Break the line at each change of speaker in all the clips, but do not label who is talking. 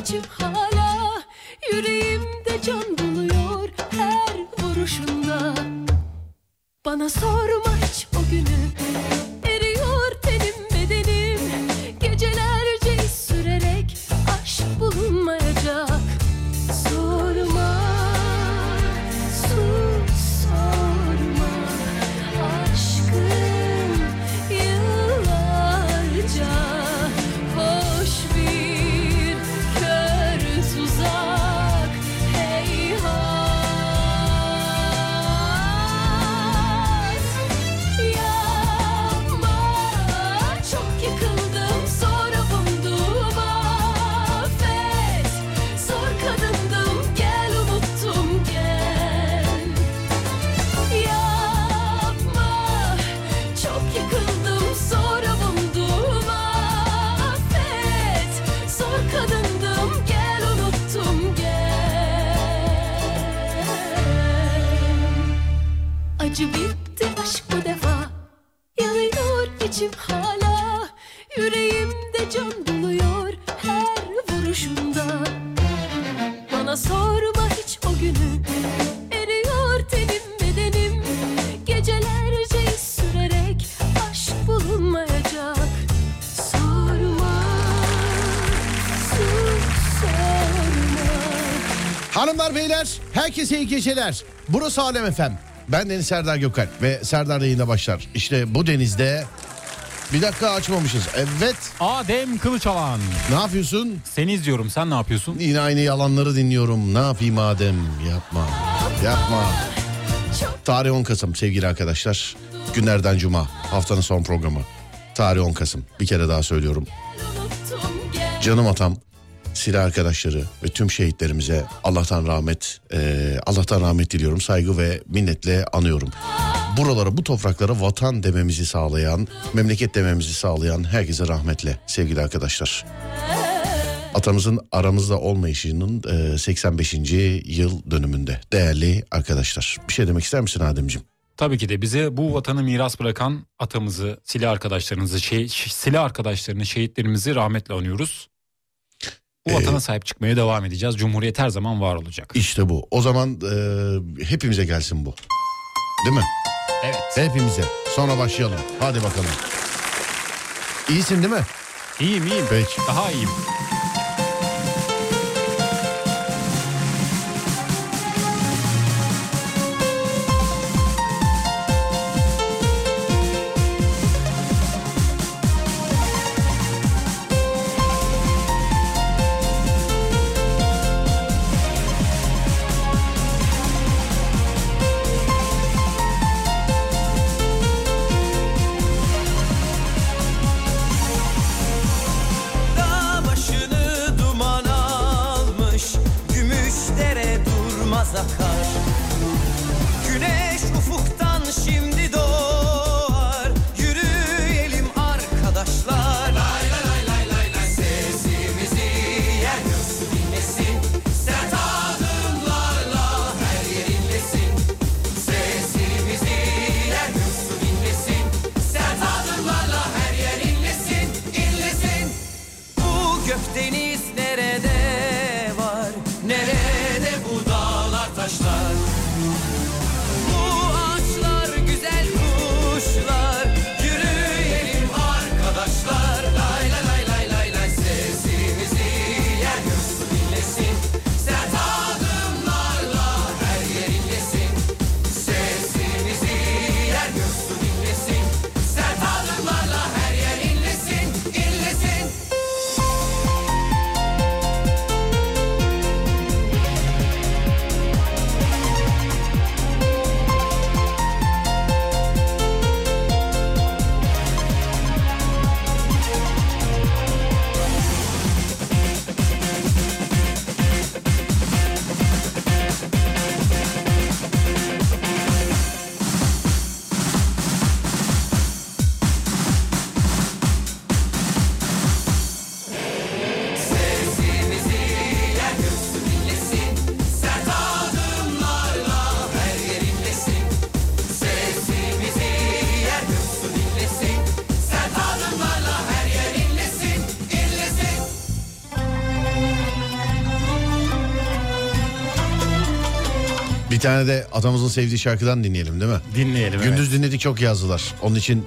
açım hala Yüreğimde can buluyor her vuruşunda Bana sorma hiç o günü Eriyor benim bedenim Gecelerce iz sürerek aşk bulunmayacak Sorma, sus sorma Aşkın yıllarca Hoş bir kör tuzak Heyhat Yapma çok yıkıldım sonra buldum affet Zor kadındım gel unuttum gel Yapma çok yıkıldım sonra buldum affet Zor kadındım gel unuttum gel Acı bitti aşk bu defa Yanıyor içim hala Yüreğimde can buluyor her vuruşumda Bana sorma hiç o günü Eriyor tenim bedenim Gecelerce iz sürerek aşk bulunmayacak Sorma, sus sorma
Hanımlar beyler herkese iyi geceler. Burası Alem Efem. Ben Deniz Serdar Gökalp ve Serdar yayına başlar. İşte bu denizde bir dakika açmamışız. Evet
Adem Kılıçalan.
ne yapıyorsun?
Seni izliyorum. Sen ne yapıyorsun?
Yine aynı yalanları dinliyorum. Ne yapayım Adem? Yapma. Yapma. Tarih 10 Kasım sevgili arkadaşlar. Günlerden cuma. Haftanın son programı. Tarih 10 Kasım. Bir kere daha söylüyorum.
Unuttum gel
Canım atam, silah arkadaşları ve tüm şehitlerimize Allah'tan rahmet, eee, Allah'tan rahmet diliyorum. Saygı ve minnetle anıyorum. Buralara, bu topraklara vatan dememizi sağlayan, memleket dememizi sağlayan herkese rahmetle sevgili arkadaşlar. Atamızın aramızda olmayışının eee, 85. yıl dönümünde değerli arkadaşlar. Bir şey demek ister misin Ademciğim?
Tabii ki de bize bu vatanı miras bırakan atamızı, silah arkadaşlarınızı, şey, ş- silah arkadaşlarını, şehitlerimizi rahmetle anıyoruz. Bu
Ee,
vatana sahip çıkmaya devam edeceğiz. Cumhuriyet her zaman var olacak.
İşte bu. O zaman eee, hepimize gelsin bu. Değil mi?
Evet.
Hepimize. Sonra başlayalım. Hadi bakalım. İyisin değil mi?
İyiyim iyiyim.
Peki.
Daha iyiyim.
Dağ başını duman almış Gümüşlere durmaz akar Güneş ufuktan şimdi doğar Yürüyelim arkadaşlar Lay lay lay lay lay lay Sesimizi yer göğsü dinlesin Sert adımlarla her yer inlesin Sesimizi yer göğsü dinlesin Sert adımlarla her yer inlesin inlesin bu gökdeniz nerede var? Nerede bu dağlar taşlar? Bu ağaçlar güzel kuşlar Yürüyelim arkadaşlar Lay lay lay lay lay lay Sesimizi yer göğsü dinlesin Sert adımlarla her yer inlesin Sesimizi yer göğsü dinlesin Sert adımlarla her yer inlesin inlesin
Bir tane de atamızın sevdiği şarkıdan dinleyelim değil mi?
Dinleyelim. evet.
Gündüz dinledik çok yazdılar. Onun için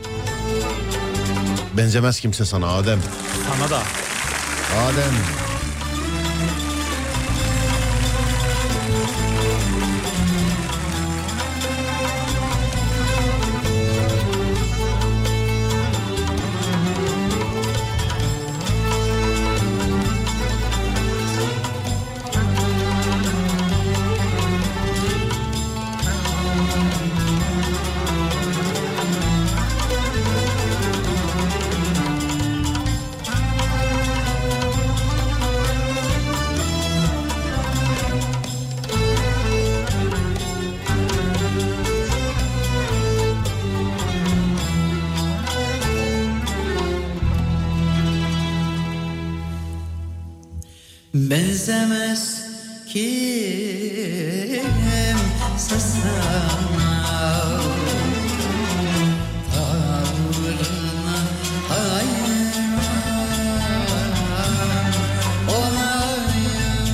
benzemez kimse sana Adem.
Sana da.
Adem.
Benzemez kimse sana Tavrına hayran olayım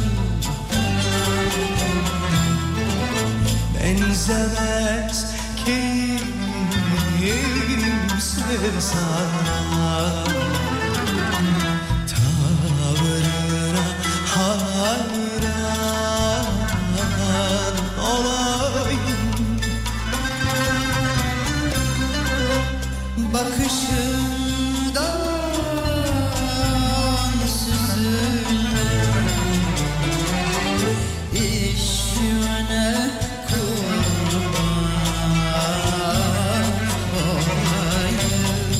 Benzemez kimse sana Tavrına hayran olayım Bakışından süzülür İşine kurban olayım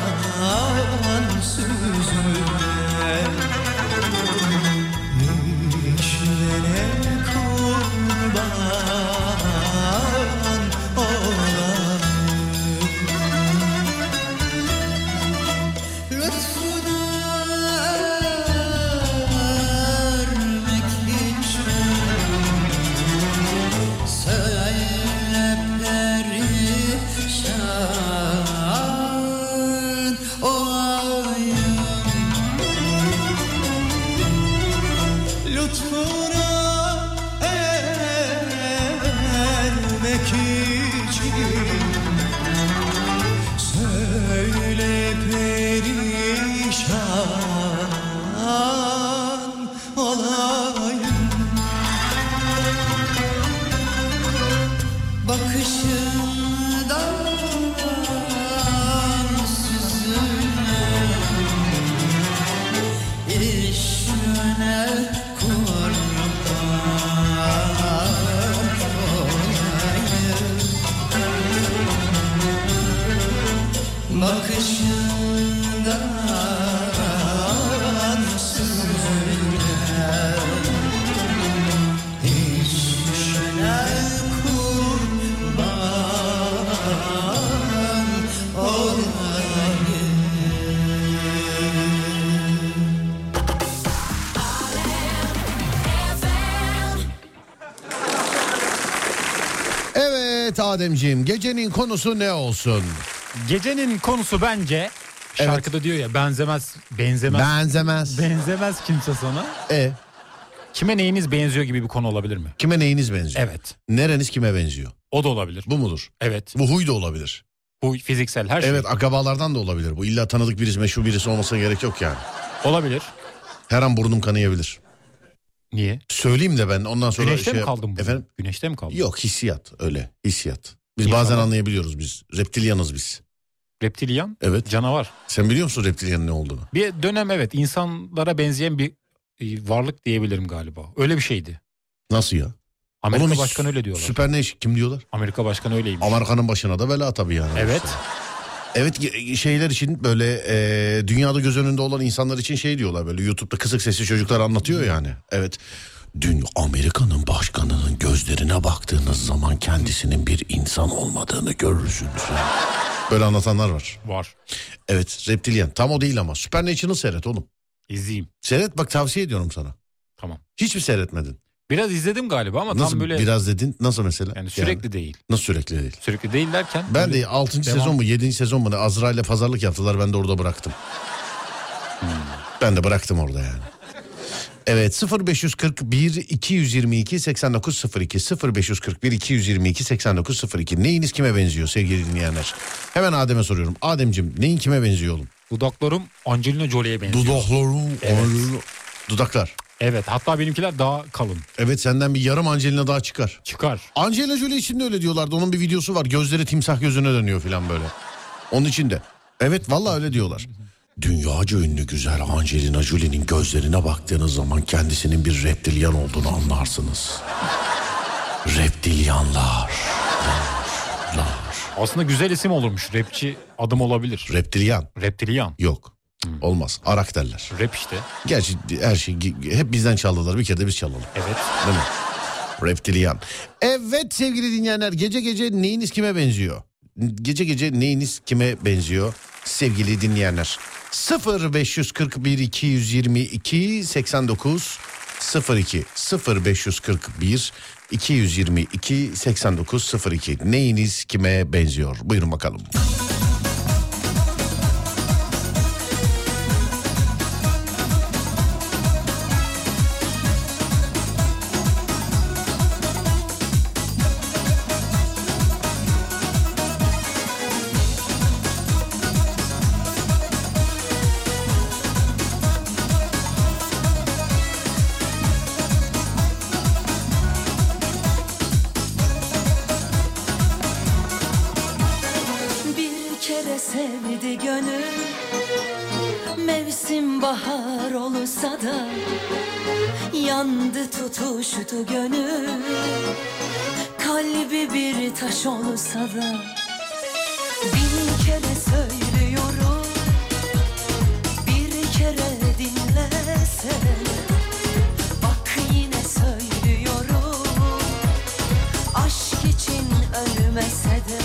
bakışından süzme Müşlere kurban olan Lütfuna ermek için Söylepleri şan olayım Lütfuna ermek için Söyle perişan olayım Bakışından süzülür İşine kurban olayım Bakışından süzülür İşine kurban olayım
Evet Ademciğim gecenin konusu ne olsun?
Gecenin konusu bence şarkıda diyor ya benzemez benzemez
Benzemez.
benzemez kimse sana.
E
Kime neyiniz benziyor gibi bir konu olabilir mi?
kime neyiniz benziyor?
Evet.
Nereniz kime benziyor?
O da olabilir.
Bu mudur?
Evet.
Bu huy da olabilir.
Bu fiziksel her şey.
Evet akrabalardan da olabilir bu. İlla tanıdık birisi meşhur birisi olmasına gerek yok yani.
Olabilir.
Her an burnum kanayabilir.
Niye?
Söyleyeyim de ben ondan sonra
Güneşte
şey...
mi kaldın bu?
Efendim?
Güneşte mi kaldın?
Yok hissiyat öyle hissiyat. Biz
İnsanlar-
bazen anlayabiliyoruz biz. Reptilyanız biz.
Reptilyan
Evet.
canavar.
Sen biliyor musun reptilyanın ne olduğunu?
Bir dönem evet insanlara benzeyen bir e, varlık diyebilirim galiba. Öyle bir şeydi.
Nasıl ya?
Amerika
Oğlum biz
Başkanı öyle diyorlar.
Süper ne iş? Kim diyorlar?
Amerika Başkanı öyleymiş.
Amerika'nın başına da bela tabii yani.
Evet.
Evet ge- şeyler için böyle e, dünyada göz önünde olan insanlar için şey diyorlar böyle YouTube'da kısık sesli çocuklar anlatıyor yani. Evet. Dün Amerika'nın başkanının gözlerine baktığınız zaman kendisinin bir insan olmadığını görürsünüz. Böyle anlatanlar var.
Var.
Evet reptilyen tam o değil ama Supernatural seyret oğlum.
İzleyeyim.
Seyret bak tavsiye ediyorum sana.
Tamam.
Hiç mi seyretmedin?
Biraz izledim galiba ama
Nasıl
tam böyle
biraz dedin nasıl mesela?
yani sürekli
Yani
değil.
nasıl sürekli değil?
Sürekli değil derken hani
Ben
böyle-
de 6.
Devam. Hmm.
sezon mu 7. sezon mu ne Azra ile pazarlık yaptılar ben de orada bıraktım. Ben de bıraktım orada yani. Evet 0541 222 8902 0541 222 8902 neyiniz kime benziyor sevgili dinleyenler? Hemen Adem'e soruyorum. Adem'cim neyin kime benziyor oğlum?
Dudaklarım Angelina Jolie'ye benziyor.
Dudakları.
Evet.
ağrı- Dudaklar.
Evet hatta benimkiler daha kalın.
Evet senden bir yarım Angelina daha çıkar.
Çıkar.
Angelina Jolie için de öyle diyorlardı. Onun bir videosu var. Gözleri timsah gözüne dönüyor falan böyle. Onun için de. Evet vallahi öyle diyorlar. Dünyaca ünlü güzel Angelina Jolie'nin gözlerine baktığınız zaman kendisinin bir reptilyan olduğunu anlarsınız. Reptilyanlar. Lar, lar.
Aslında güzel isim olurmuş. Rapçi adım olabilir.
Reptilyan
Reptilian.
yok. Olmaz. Arak derler.
Rap işte.
Gerçi her şey hep bizden çaldılar. Bir kere de biz çalalım.
Evet.
Değil mi? Reptilian. Evet sevgili dinleyenler gece gece neyiniz kime benziyor? Gece gece neyiniz kime benziyor sevgili dinleyenler? 0541 222 89 02 0541 222 89 02 neyiniz kime benziyor? Buyurun bakalım.
Bir kere sevdi gönül Mevsim bahar olsa da Yandı tutuştu gönül Kalbi bir taş olsa da Bin kere söylüyorum Bir kere dinlesen Bak yine söylüyorum Aşk için ölmese de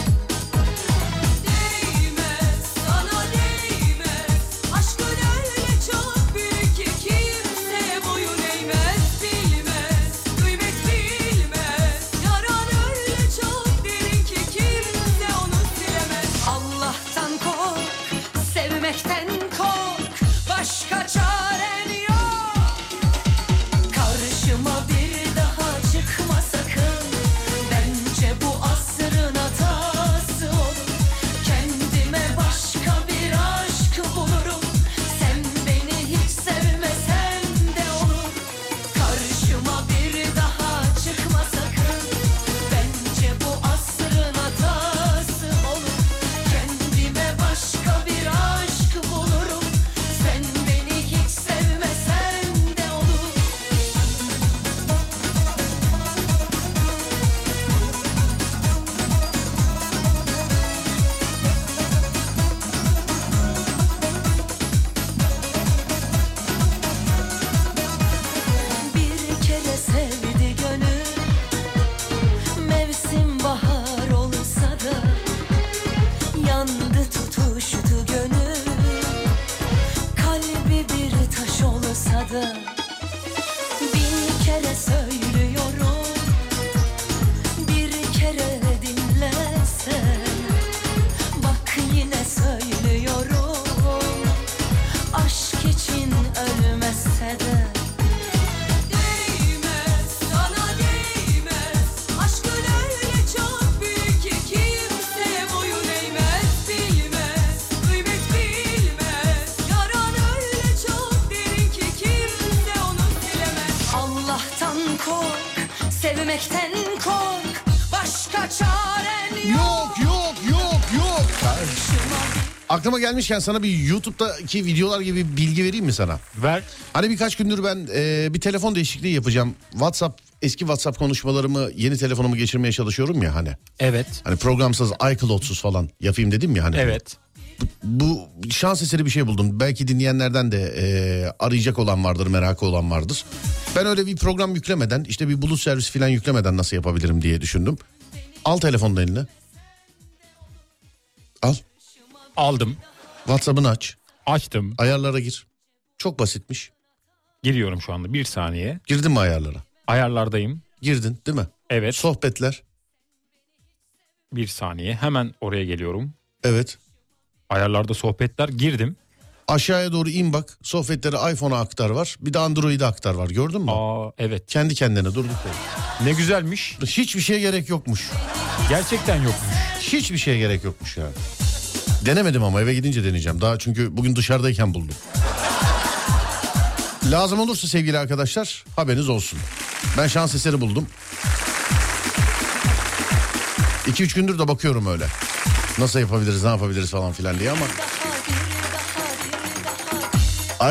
Değmez sana değmez Aşkın öyle çok büyük ki kimse boyun eğmez Bilmez kıymet bilmez Yaran öyle çok derin ki kimse onu silemez Allah'tan kork sevmekten kork Başka çaren yok Karşıma bir daha çıkma sakın Bence bu asrın hatası olur Kendime başka bir aşk bulurum Sen beni hiç sevmesen de olur Karşıma bir daha çıkma sakın Bence bu asrın hatası olur Kendime başka bir aşk bulurum Sen beni hiç sevmesen de olur Bir kere sevdi gönül Mevsim bahar olsa da Yandı tutuştu gönül Kalbi bir taş olsa da Bin kere söylüyorum Bir kere dinlesen Bak yine söylüyorum Aşk için ölmese de Değmez sana değmez Aşkın öyle çok büyük ki kimse boyun eğmez Bilmez kıymet bilmez Yaran öyle çok derin ki kimse onu bilemez Allah'tan kork sevmekten kork Başka çaren yok
Yok yok yok yok. Aklıma gelmişken sana bir YouTube'daki videolar gibi bilgi vereyim mi sana?
Ver.
Hani birkaç gündür ben e, bir telefon değişikliği yapacağım. WhatsApp eski WhatsApp konuşmalarımı yeni telefonuma geçirmeye çalışıyorum ya hani.
Evet.
Hani programsız, iCloud'suz falan yapayım dedim ya hani.
Evet.
Bu şans eseri bir şey buldum. Belki dinleyenlerden de e, arayacak olan vardır, merakı olan vardır. Ben öyle bir program yüklemeden, işte bir bulut servisi falan yüklemeden nasıl yapabilirim diye düşündüm. Al telefonun eline. Al.
Aldım.
WhatsApp'ını aç.
Açtım.
Ayarlara gir. Çok basitmiş.
Giriyorum şu anda. Bir saniye.
Girdin mi ayarlara?
Ayarlardayım.
Girdin değil mi?
Evet.
Sohbetler.
Bir saniye. Hemen oraya geliyorum.
Evet.
Ayarlarda sohbetler girdim.
Aşağıya doğru in bak. Sohbetleri iPhone'a aktar var. Bir de Android'e aktar var. Gördün mü?
Aa evet.
Kendi kendine durduk yere.
Ne güzelmiş.
Hiçbir şeye gerek yokmuş.
Gerçekten yokmuş.
Hiçbir şeye gerek yokmuş yani. Denemedim ama eve gidince deneyeceğim. Daha çünkü bugün dışarıdayken buldum. Lazım olursa sevgili arkadaşlar haberiniz olsun. Ben şans eseri buldum. 2-3 gündür de bakıyorum öyle. Nasıl yapabiliriz, ne yapabiliriz falan filan diye ama...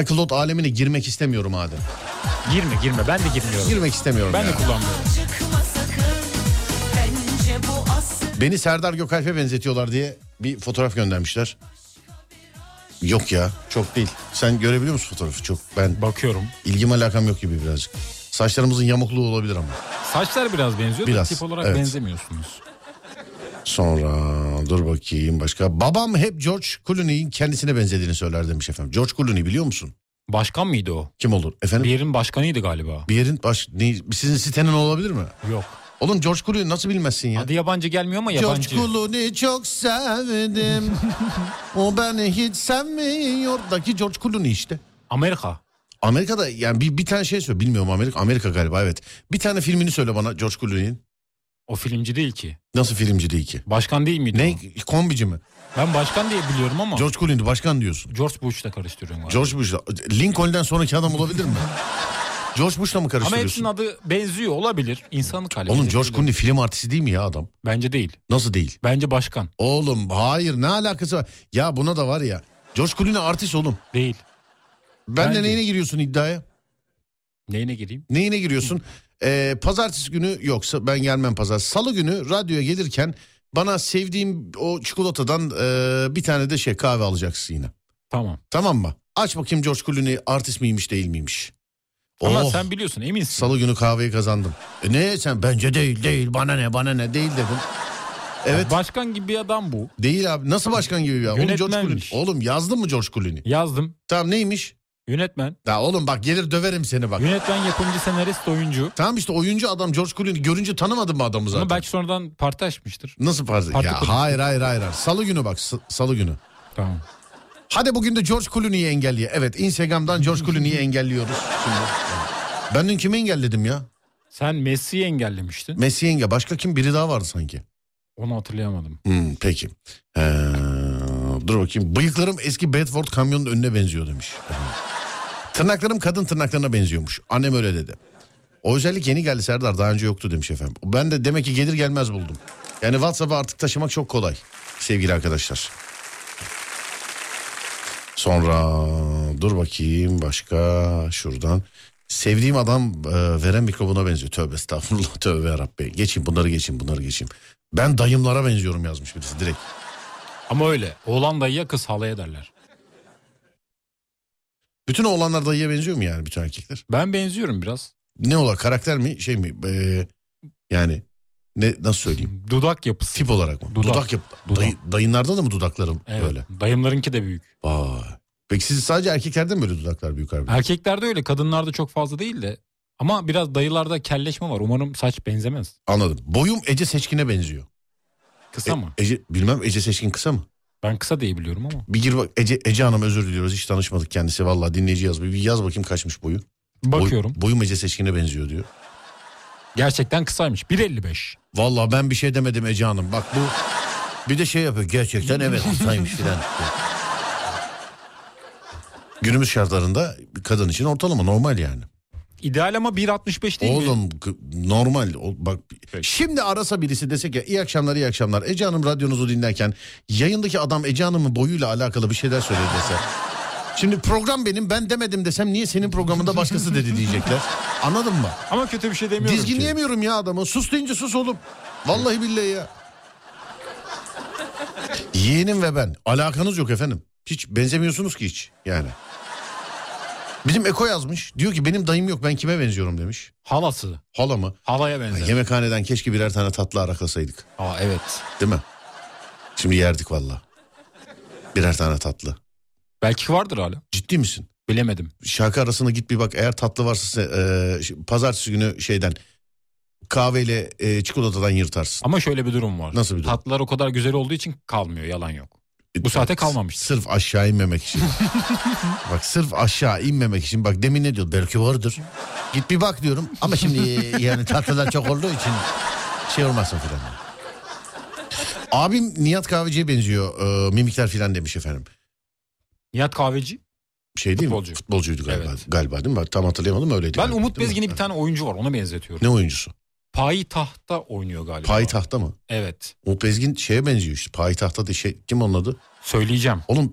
iCloud alemine girmek istemiyorum Adem.
Girme girme ben de girmiyorum.
Girmek istemiyorum
Ben de
yani.
kullanmıyorum.
Çıkma sakın Bence bu asıl
Beni Serdar Gökalp'e benzetiyorlar diye bir fotoğraf göndermişler. Yok ya çok değil. Sen görebiliyor musun fotoğrafı? Çok ben
Bakıyorum.
ilgim alakam yok gibi birazcık. Saçlarımızın yamukluğu olabilir ama.
Saçlar biraz benziyor
Biraz,
da tip olarak
evet.
benzemiyorsunuz.
Sonra dur bakayım başka. Babam hep George Clooney'in kendisine benzediğini söyler demiş efendim. George Clooney biliyor musun?
Başkan mıydı o?
Kim olur? Efendim
Bir
bir,
yerin başkanıydı galiba.
yerin baş... Ne, sizin sitenin olabilir mi?
Yok.
Oğlum George Clooney nasıl bilmezsin ya?
Adı yabancı gelmiyor ama yabancı.
George Clooney çok sevdim. o beni hiç sevmiyordaki George Clooney işte.
Amerika.
Amerika'da yani bir, bir tane şey söyle bilmiyorum Amerika Amerika galiba evet. Bir tane filmini söyle bana George Clooney'in.
O filmci değil ki.
Nasıl filmci değil ki?
Başkan değil miydi?
Ne
o?
kombici mi?
Ben başkan diye biliyorum ama George,
George Clooney'di başkan diyorsun.
Bush'la karıştırıyorum. Galiba.
George Bush'la Lincoln'den sonraki adam olabilir mi? George Bush'la mı
Ama
karıştırıyorsun?
hepsinin adı benziyor olabilir. İnsanlık hali.
Oğlum
Bize
George
bilir.
Clooney film artisti değil mi ya adam?
Bence değil.
Nasıl değil?
Bence başkan.
Oğlum hayır ne alakası var? Ya buna da var ya. George Clooney artist oğlum.
Değil.
Ben
Bence.
de neyine giriyorsun iddiaya?
Neyine gireyim?
Neyine giriyorsun? Ee, pazartesi günü yoksa ben gelmem pazar. Salı günü radyoya gelirken bana sevdiğim o çikolatadan e, bir tane de şey kahve alacaksın yine.
Tamam.
Tamam mı? Aç bakayım George Clooney artist miymiş değil miymiş?
Ama
Oh,
sen biliyorsun eminsin.
Salı günü kahveyi kazandım. E ne sen bence değil değil bana ne bana ne değil dedim. Evet.
Başkan gibi bir adam bu.
Değil abi nasıl başkan gibi ya? Oğlum, George Clooney.
Yönetmenmiş.
oğlum yazdın mı George Clooney?
Yazdım.
Tamam neymiş?
Yönetmen.
Ya oğlum bak gelir döverim seni bak.
Yönetmen, yapımcı, senarist, oyuncu.
Tamam işte oyuncu adam George Clooney. Görünce tanımadın mı adamı zaten?
Ama belki sonradan parti açmıştır.
Nasıl parti?
Parti
ya
kurdu.
hayır hayır hayır. hayır. Salı günü bak s- salı günü.
Tamam.
Hadi bugün de George Clooney'i engelleye. Evet Instagram'dan George Clooney'i engelliyoruz şimdi. Ben dün kimi engelledim ya?
Sen Messi'yi engellemiştin.
Messi yenge. Başka kim? Biri daha vardı sanki.
Onu hatırlayamadım.
Hmm, peki. Ee, dur bakayım. Bıyıklarım eski Bedford kamyonun önüne benziyor demiş. Tırnaklarım kadın tırnaklarına benziyormuş. Annem öyle dedi. O özellik yeni geldi Serdar. Daha önce yoktu demiş efendim. Ben de demek ki gelir gelmez buldum. Yani WhatsApp'a artık taşımak çok kolay sevgili arkadaşlar. Sonra dur bakayım başka şuradan. Sevdiğim adam e, veren mikrobuna benziyor. Tövbe estağfurullah tövbe yarabbi. Geçin bunları geçin bunları geçin. Ben dayımlara benziyorum yazmış birisi direkt.
Ama öyle. Oğlan dayıya kız halaya derler.
Bütün oğlanlar dayıya benziyor mu yani bütün erkekler?
Ben benziyorum biraz.
Ne ola karakter mi şey mi? E, yani ne nasıl söyleyeyim?
Dudak yapısı.
Tip olarak mı?
Dudak.
Dudak. yap.
Dudak.
Dayı- dayınlarda da mı dudaklarım
Evet.
böyle?
Dayımlarınki de büyük.
Vay. Peki siz sadece erkeklerde mi böyle dudaklar büyük harbiden?
Erkeklerde öyle. Kadınlarda çok fazla değil de. Ama biraz dayılarda kelleşme var. Umarım saç benzemez.
Anladım. Boyum Ece Seçkin'e benziyor.
Kısa
E-
mı?
Ece, bilmem Ece Seçkin kısa mı?
Ben kısa diye biliyorum ama.
Bir gir bak Ece, Ece Hanım özür diliyoruz hiç tanışmadık kendisi valla dinleyici yazmıyor. Bir yaz bakayım kaçmış boyu. Boy-
Bakıyorum.
boyum Ece Seçkin'e benziyor diyor.
Gerçekten kısaymış. 1.55.
Valla ben bir şey demedim Ece Hanım bak bu bir de şey yapıyor gerçekten evet kısaymış filan. Günümüz şartlarında kadın için ortalama normal yani.
İdeal ama 1.65 değil mi?
Oğlum k- normal o- bak
Peki.
şimdi arasa birisi desek ya iyi akşamlar iyi akşamlar Ece Hanım radyonuzu dinlerken yayındaki adam Ece Hanım'ın boyuyla alakalı bir şeyler söyledi dese. Şimdi program benim ben demedim desem niye senin programında başkası dedi diyecekler. Anladın mı?
Ama kötü bir şey demiyorum ki.
Dizginleyemiyorum ya adamı. Sus deyince sus oğlum. Vallahi billahi ya. Yeğenim ve ben. Alakanız yok efendim. Hiç benzemiyorsunuz ki hiç yani. Bizim Eko yazmış. Diyor ki benim dayım yok ben kime benziyorum demiş.
Halası.
Hala mı?
Halaya benzer.
Yemekhaneden keşke birer tane tatlı araklasaydık.
Aa evet.
Değil mi? Şimdi yerdik valla. Birer tane tatlı.
Belki vardır hala.
Ciddi misin?
Bilemedim.
Şarkı arasında git bir bak eğer tatlı varsa se- e, ş- pazartesi günü şeyden kahveyle e, çikolatadan yırtarsın.
Ama şöyle bir durum var.
Nasıl bir durum?
Tatlılar o kadar güzel olduğu için kalmıyor yalan yok. Bu saate kalmamış.
E, Sırf aşağı inmemek için. bak sırf aşağı inmemek için. Bak demin ne diyor? Belki vardır. Git bir bak diyorum. Ama şimdi e, yani tatlılar çok olduğu için şey olmasın filan. Abim Nihat Kahveci'ye benziyor. e, mimikler filan demiş efendim.
Nihat Kahveci.
Şey değil
Futbolcu.
mi? Futbolcuydu galiba.
Evet.
Galiba değil mi? Tam hatırlayamadım öyleydi.
Ben
galiba,
Umut
değil mi?
Bezgin'in bir tane oyuncu var ona benzetiyorum.
Ne oyuncusu?
Payitaht'ta oynuyor galiba.
Payitaht'ta mı?
Evet.
Umut Bezgin şeye benziyor işte. Payitaht'ta da şey, kim onun adı?
Söyleyeceğim.
Oğlum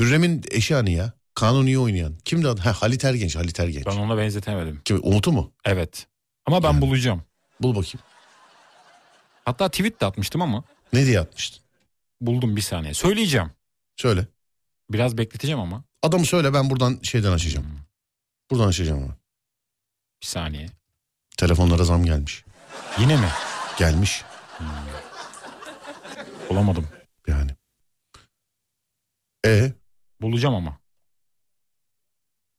Hürrem'in eşi hani ya. Kanuni'yi oynayan. Kimdi adı? Ha, Halit Ergenç. Halit Ergenç.
Ben ona benzetemedim.
Kim, Umut'u mu?
Evet. Ama ben bulacağım.
Bul bakayım.
Hatta tweet de atmıştım ama
Ne diye atmıştın?
buldum bir saniye. Söyleyeceğim.
Söyle.
Biraz bekleteceğim ama.
Adamı söyle ben buradan şeyden açacağım. Buradan açacağım ama.
Bir saniye.
Telefonlara zam gelmiş.
Yine mi?
Gelmiş
Bulamadım.
yani. E
Bulacağım ama.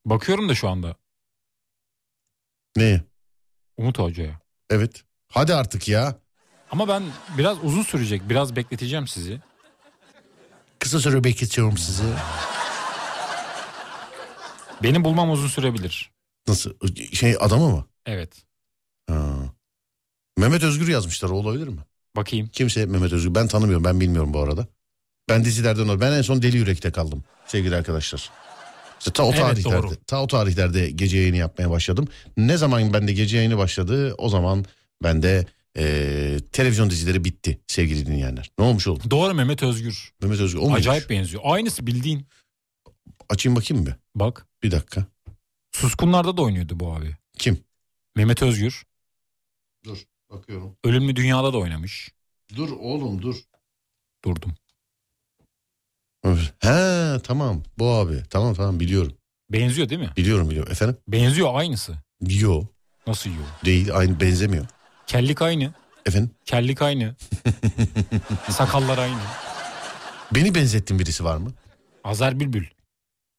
Bakıyorum da şu anda
ne?
Umut Hoca'ya.
Evet. Hadi artık ya.
Ama ben biraz uzun sürecek. Biraz bekleteceğim sizi.
Kısa süre bekletiyorum sizi.
Beni bulmam uzun sürebilir.
Nasıl? Şey adamı mı?
Evet.
Ha. Mehmet Özgür yazmışlar o olabilir mi?
Bakayım.
Kimse Mehmet Özgür. Ben tanımıyorum. Ben bilmiyorum bu arada. Ben dizilerden o. Ben en son Deli Yürek'te kaldım sevgili arkadaşlar. İşte ta o
Evet,
tarihlerde,
doğru.
ta o tarihlerde gece yayını yapmaya başladım. Ne zaman bende gece yayını başladı o zaman bende eee televizyon dizileri bitti sevgili dinleyenler. Ne olmuş oldu?
Doğru Mehmet Özgür.
Mehmet Özgür o muymuş?
Acayip benziyor. Aynısı bildiğin.
Açayım bakayım bir.
Bak.
Bir dakika.
Suskunlar'da da oynuyordu bu abi.
Kim?
Mehmet Özgür.
Dur bakıyorum.
Ölümlü Dünya'da da oynamış.
Dur oğlum dur.
Durdum.
He tamam bu abi. Tamam tamam biliyorum.
Benziyor değil mi?
Biliyorum biliyorum. Efendim?
Benziyor aynısı.
Yo
Nasıl yiyor?
değil aynı benzemiyor.
Kellik aynı.
Efendim?
Kellik aynı. Sakallar aynı.
Beni benzettiğin birisi var mı?
Azer Bülbül.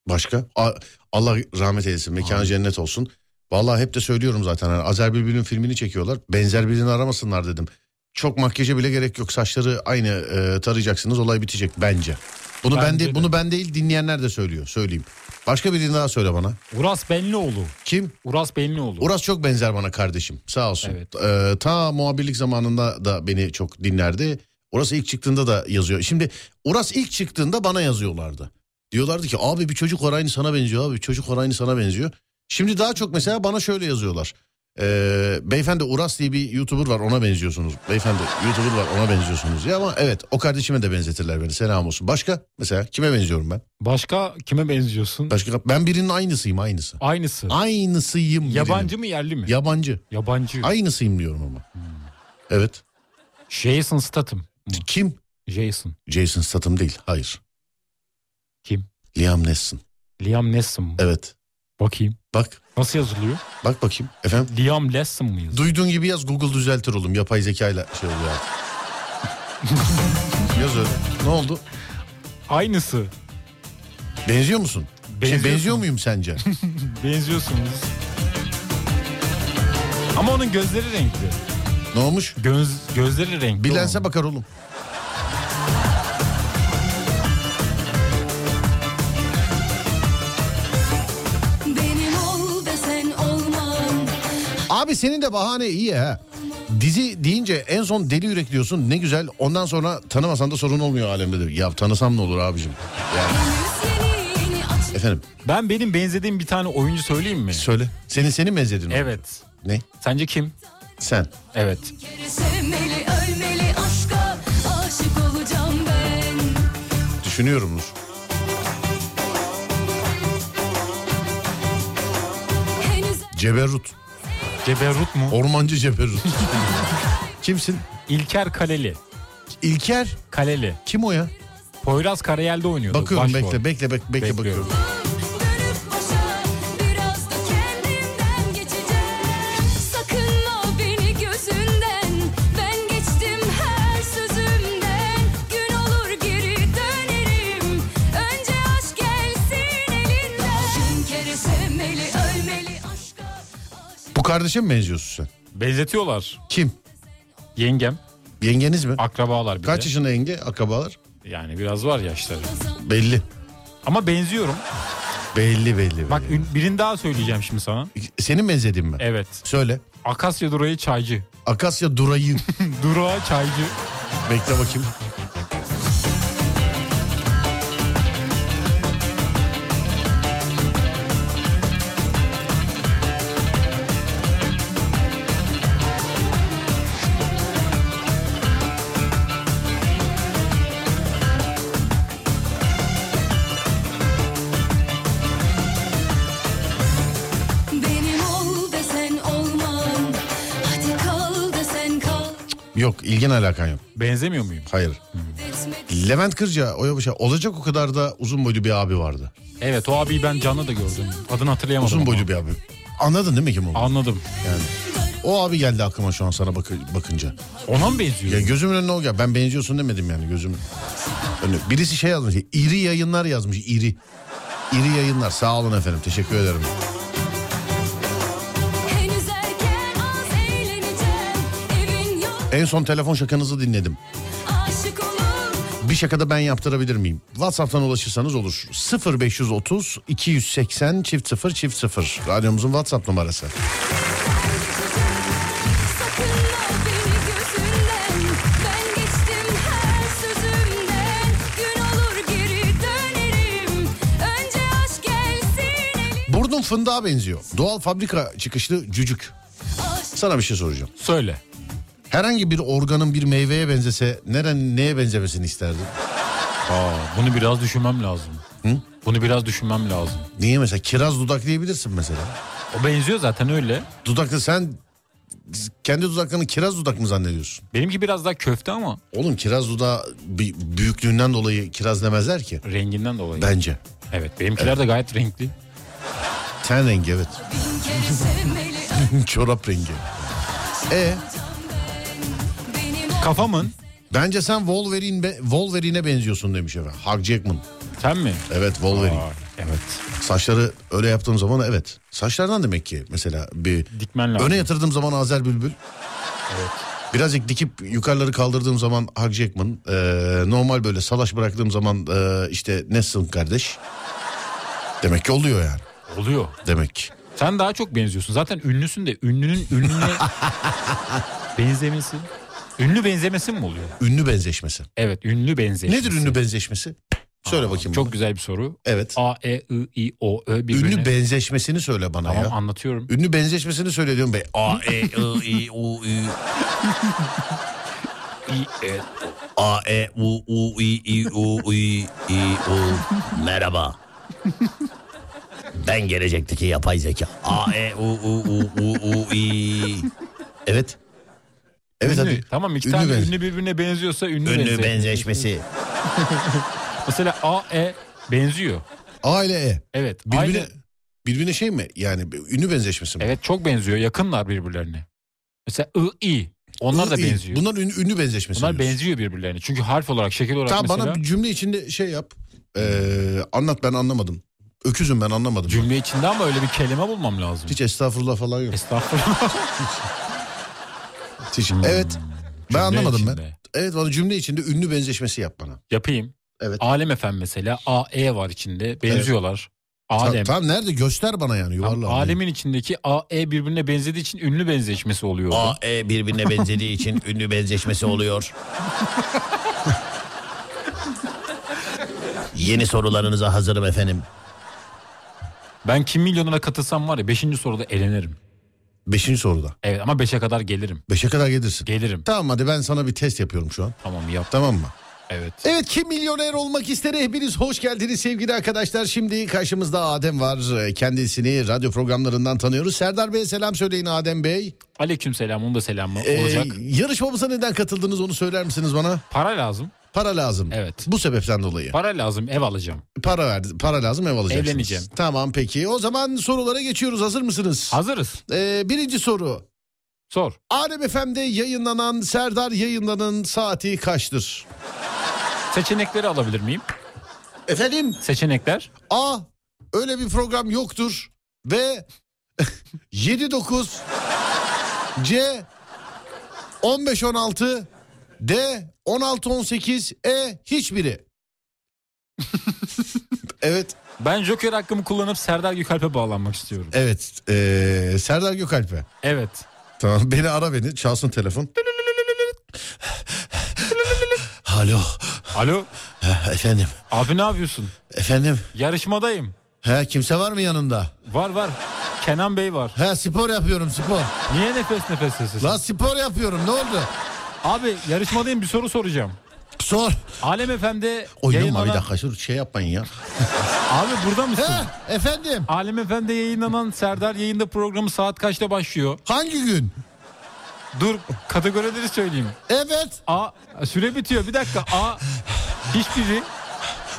Başka? A- Allah rahmet eylesin. Mekanı cennet olsun. Vallahi hep de söylüyorum zaten. Yani Azer Bülbül'ün filmini çekiyorlar. Benzer birini aramasınlar dedim. Çok makyaja bile gerek yok. Saçları aynı e, tarayacaksınız. Olay bitecek bence. Bunu ben
Bence
de,
de.
bunu ben değil dinleyenler de söylüyor. Söyleyeyim. Başka birini daha söyle bana.
Uras Benlioğlu.
Kim?
Uras Benlioğlu.
Uras çok benzer bana kardeşim. Sağ olsun.
Evet.
Ee, ta muhabirlik zamanında da beni çok dinlerdi. Uras ilk çıktığında da yazıyor. Şimdi Uras ilk çıktığında bana yazıyorlardı. Diyorlardı ki abi bir çocuk var aynı sana benziyor abi bir çocuk var aynı sana benziyor. Şimdi daha çok mesela bana şöyle yazıyorlar. Ee, beyefendi Uras diye bir YouTuber var ona benziyorsunuz. Beyefendi YouTuber var ona benziyorsunuz diye ama evet o kardeşime de benzetirler beni selam olsun. Başka mesela kime benziyorum ben?
Başka kime benziyorsun?
Başka ben birinin aynısıyım aynısı.
Aynısı.
Aynısıyım. birinin.
Yabancı mı yerli mi?
Yabancı.
Yabancı.
Aynısıyım diyorum ama. Evet.
Jason Statham. mı?
Kim?
Jason.
Jason Statham değil. Hayır.
Kim?
Liam Neeson.
Liam Neeson. mı?
Evet.
Bakayım.
Bak.
Nasıl yazılıyor?
Bak bakayım. Efendim?
Liam Neeson mı yazılıyor?
Duyduğun gibi yaz Google düzeltir oğlum. Yapay zekayla şey oluyor artık. yaz öyle. Ne oldu?
Aynısı.
Benziyor musun? Şey,
Benziyorsun.
benziyor muyum sence?
Benziyorsunuz. Ama onun gözleri renkli.
ne olmuş?
Göz, gözleri renkli.
Bir
onun.
lense bakar oğlum.
Benim ol desen olmam
Abi senin de bahane iyi ha. Dizi deyince en son deli yürek diyorsun ne güzel. Ondan sonra tanımasan da sorun olmuyor alemde. de. Ya tanısam ne olur abicim? Yani,
Henüz yeni yeni aç
efendim
Ben benim benzediğim bir tane oyuncu söyleyeyim mi?
söyle. Senin seni benzedin. o.
Evet.
Ne?
Sence kim?
Sen.
Evet.
kere sevmeli ölmeli aşka aşık olacağım ben
Düşünüyorum Nur.
Henüz
Ceberut.
Ceberut mu?
Ormancı Ceberut. Kimsin?
İlker Kaleli.
İlker.
Kaleli.
Kim o ya?
Poyraz Karayel'de oynuyordu.
Bakıyorum
başrol.
bekle, bekle bekle bekle
Bekliyorum.
bakıyorum.
dönüp başa biraz da kendimden geçeceğim Sakınma beni gözünden ben geçtim her sözümden Gün olur geri dönerim önce aşk gelsin elinden Bin kere sevmeli ölmeli aşka
Bu kardeşe mi benziyorsun sen?
Benzetiyorlar.
Kim?
Yengem.
Yengeniz mi?
Akrabalar bir de.
Kaç yaşında yenge akrabalar?
Yani biraz var yaşları.
Belli.
Ama benziyorum.
Belli belli.
Bak
belli.
ün- birini daha söyleyeceğim şimdi sana.
Senin benzediğin mi?
Evet.
Söyle.
Akasya Durağı Çaycı.
Akasya durayım.
Durağı Çaycı.
Bekle bakayım.
Benim ol desen olmam Hadi kal desen kal
Yok ilgin alakan yok.
Benzemiyor muyum?
Hayır.
Etmek
Levent Kırca, Oya Başar. Olacak o kadar da uzun boylu bir abi vardı.
Evet o abiyi ben canlı da gördüm. Adını hatırlayamadım.
Uzun
ama.
boylu bir abi. Anladın değil mi kim o?
Anladım.
O abi geldi aklıma şu an sana bakı- bakınca.
Ona mı
Ya
benziyor?
gözümün önüne o gel. Ben benziyorsun demedim yani gözüm. önüne. Birisi şey yazmış. İri yayınlar yazmış. İri. İri yayınlar. Sağ olun efendim. Teşekkür ederim.
henüz erken az eğleneceğim Evin yok
En son telefon şakanızı dinledim.
aşık olur
Bir şakada ben yaptırabilir miyim? WhatsApp'tan ulaşırsanız olur. 0530 280 çift 0 çift 0. Radyomuzun WhatsApp numarası.
Sakınma beni gözünden Ben geçtim her sözümden Gün olur geri dönerim Önce aşk gelsin elim
Burnun fındığa benziyor. Doğal fabrika çıkışlı cücük.
Aşk
Sana bir şey soracağım.
Söyle.
Herhangi bir organın bir meyveye benzese neren neye benzemesini isterdin?
Aa, bunu biraz düşünmem lazım. Bunu biraz düşünmem lazım.
Niye mesela? Kiraz dudak diyebilirsin mesela.
O benziyor zaten öyle.
Dudaklı sen kendi dudaklarını kiraz dudak mı zannediyorsun?
Benimki biraz daha köfte ama
Oğlum kiraz dudağı bi- büyüklüğünden dolayı kiraz demezler ki.
renginden dolayı.
Bence.
Evet benimkiler de gayet renkli.
Ten rengi evet.
bin kere sevmeli
Çorap rengi. E
Benim
Kafamın.
bence sen Wolverine be- Wolverine'e benziyorsun demiş efendim. Hugh Jackman.
Sen mi?
Evet Wolverine.
Aa, evet.
Saçları öyle yaptığım zaman evet. Saçlardan demek ki mesela bir
Dikmen lazım.
öne yatırdığım zaman Azer Bülbül. Birazcık dikip yukarıları kaldırdığım zaman Hugh Jackman. e, normal böyle salaş bıraktığım zaman e, işte Nessun kardeş. Demek ki oluyor yani.
Oluyor.
Demek ki.
Sen daha çok benziyorsun. Zaten ünlüsün de ünlünün ünlüne benzemesi. Ünlü benzemesi mi oluyor?
Ünlü benzeşmesi.
Evet ünlü benzeşmesi.
Nedir ünlü benzeşmesi? Söyle bakayım.
Çok
bana.
güzel bir soru.
Evet.
A, E, I, I, O, Ö birbirine.
Ünlü benzeşmesini söyle bana
Tamam
ya.
anlatıyorum.
Ünlü benzeşmesini söyle diyorum be. A, E, I, I, U, Ü.
İ, E,
A, E, U, U, I, I, U, I, I, U. Merhaba. Ben gelecekteki yapay zeka. A, E, U, U, U, U, U, I. Evet. Evet
ünlü.
hadi.
Tamam iki
Ünlü
tane
benze-
ünlü birbirine benziyorsa ünlü,
Ünlü
benze-
benzeşmesi.
Mesela A, E benziyor.
A ile E.
Evet.
Birbirine,
Aynı-
birbirine şey mi? Yani ünlü benzeşmesi mi?
Evet çok benziyor. Yakınlar birbirlerine. Mesela I, I. Onlar da
İyi.
benziyor. Bunlar,
Bunlar ünlü, ünlü benzeşmesi. diyorsun.
benziyor birbirlerine. Çünkü harf olarak, şekil olarak
Tamam
mesela.
bana bir cümle içinde şey yap. Ee, anlat ben anlamadım. Öküzüm ben anlamadım.
Cümle içinde ama öyle bir kelime bulmam lazım.
Hiç estağfurullah falan yok.
Estağfurullah.
Hiç- Evet. Ben anlamadım ben.
içinde.
Evet bana cümle içinde ünlü benzeşmesi yap bana.
Yapayım.
Evet.
Alem Efem mesela. A, E var içinde. Benziyorlar.
Ta-
Alem.
Tamam nerede göster bana yani
Tam
yuvarla.
Alemin içindeki A, E birbirine benzediği için ünlü benzeşmesi oluyor. orada.
E birbirine benzediği için ünlü benzeşmesi oluyor. Yeni sorularınıza hazırım efendim.
Ben kim milyonuna katılsam var ya 5. soruda elenirim.
Beşinci soruda.
Evet ama 5'e kadar gelirim.
Beşe kadar gelirsin.
Gelirim.
Tamam hadi ben sana bir test yapıyorum şu an.
Tamam yap.
Tamam mı?
Evet.
Evet kim milyoner olmak ister hepiniz hoş geldiniz sevgili arkadaşlar. Şimdi karşımızda Adem var. Ee, Kendisini radyo programlarından tanıyoruz. Serdar Bey'e selam söyleyin Adem Bey.
Aleyküm selam. Onun da selamı
Ee,
olacak.
yarışmamıza neden katıldınız onu söyler misiniz bana?
Para lazım.
Para lazım.
Evet.
Bu sebepten dolayı.
Para lazım. Ev alacağım.
para verdi. Para lazım ev alacaksınız.
Evleneceğim.
Tamam peki. O zaman sorulara geçiyoruz. Hazır mısınız?
Hazırız.
Ee, birinci soru.
Sor.
Alem FM'de yayınlanan Serdar yayınlanan saati kaçtır?
Seçenekleri alabilir miyim?
Efendim?
Seçenekler.
A. Öyle bir program yoktur. B. 79 C 15 16 D 16 18 E hiçbiri. evet
Ben Joker hakkımı kullanıp Serdar Gökalp'e bağlanmak istiyorum.
evet Ee, Serdar Gökalp'e.
Evet.
Tamam beni ara beni çalsın telefon. Alo
Alo
efendim
abi ne yapıyorsun?
efendim
Yarışmadayım.
he kimse var mı yanında?
Var var. Kenan Bey var.
He spor yapıyorum spor.
Niye nefes nefes sesi?
Lan spor yapıyorum ne oldu?
Abi yarışmadayım bir soru soracağım.
Sor.
Alem FM'de
Oynama
yayınlanan...
bir dakika şu şey yapmayın ya.
Abi burada mısın?
He efendim
Alem FM'de yayınlanan Serdar yayında programı saat kaçta başlıyor?
hangi gün?
Dur kategorileri söyleyeyim.
Evet.
A süre bitiyor bir dakika. A hiçbiri.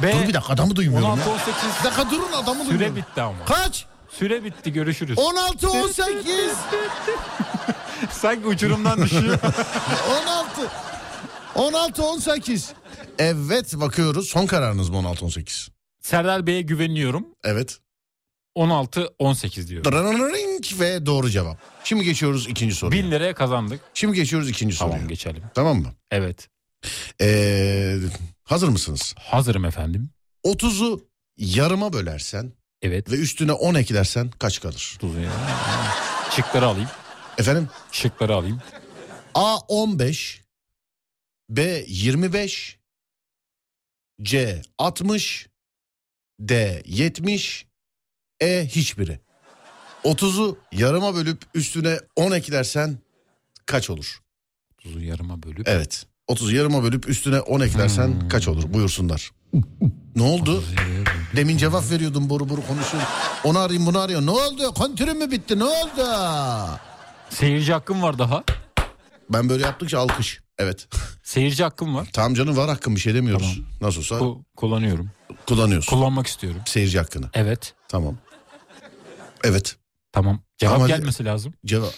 B
Dur bir dakika adamı duymuyorum ya.
16 18
Bir dakika durun adamı
süre
duymuyorum.
bitti ama.
Kaç?
Süre bitti görüşürüz.
16 18
Sanki uçurumdan düşüyor.
16 16 18. Evet bakıyoruz. Son kararınız mı 16 18?
Serdar Bey'e güveniyorum.
Evet.
16 18 diyorum.
Drarararink ve doğru cevap. Şimdi geçiyoruz ikinci soruya.
1000 liraya kazandık.
Şimdi geçiyoruz ikinci
Tamam
soruya.
geçelim.
Tamam mı?
Evet.
Ee, hazır mısınız?
Hazırım efendim.
30'u yarıma bölersen
Evet.
ve üstüne 10 eklersen kaç kalır?
Tuzlu ya. Şıkları alayım.
Efendim?
Şıkları alayım.
A 15 B 25 C 60 D 70 E hiçbiri. 30'u yarıma bölüp üstüne 10 eklersen kaç olur?
Tuzu yarıma bölüp.
Evet. 30'u yarıma bölüp üstüne 10 eklersen kaç olur? Buyursunlar. Ne oldu? Demin cevap veriyordum boru boru konuşuyordum. Onu arayayım bunu arıyor. Ne oldu? Kontürüm mü bitti? Ne oldu?
Seyirci hakkım var daha.
Ben böyle yaptıkça alkış. Evet.
Seyirci hakkım var.
Tamam canım var hakkın bir şey demiyoruz. Nasıl olsa
Bu kullanıyorum.
kullanıyorsun.
Kullanmak istiyorum.
Seyirci hakkını.
Evet.
Tamam. Evet.
Tamam. Cevap
Ama-
gelmesi lazım.
Cevap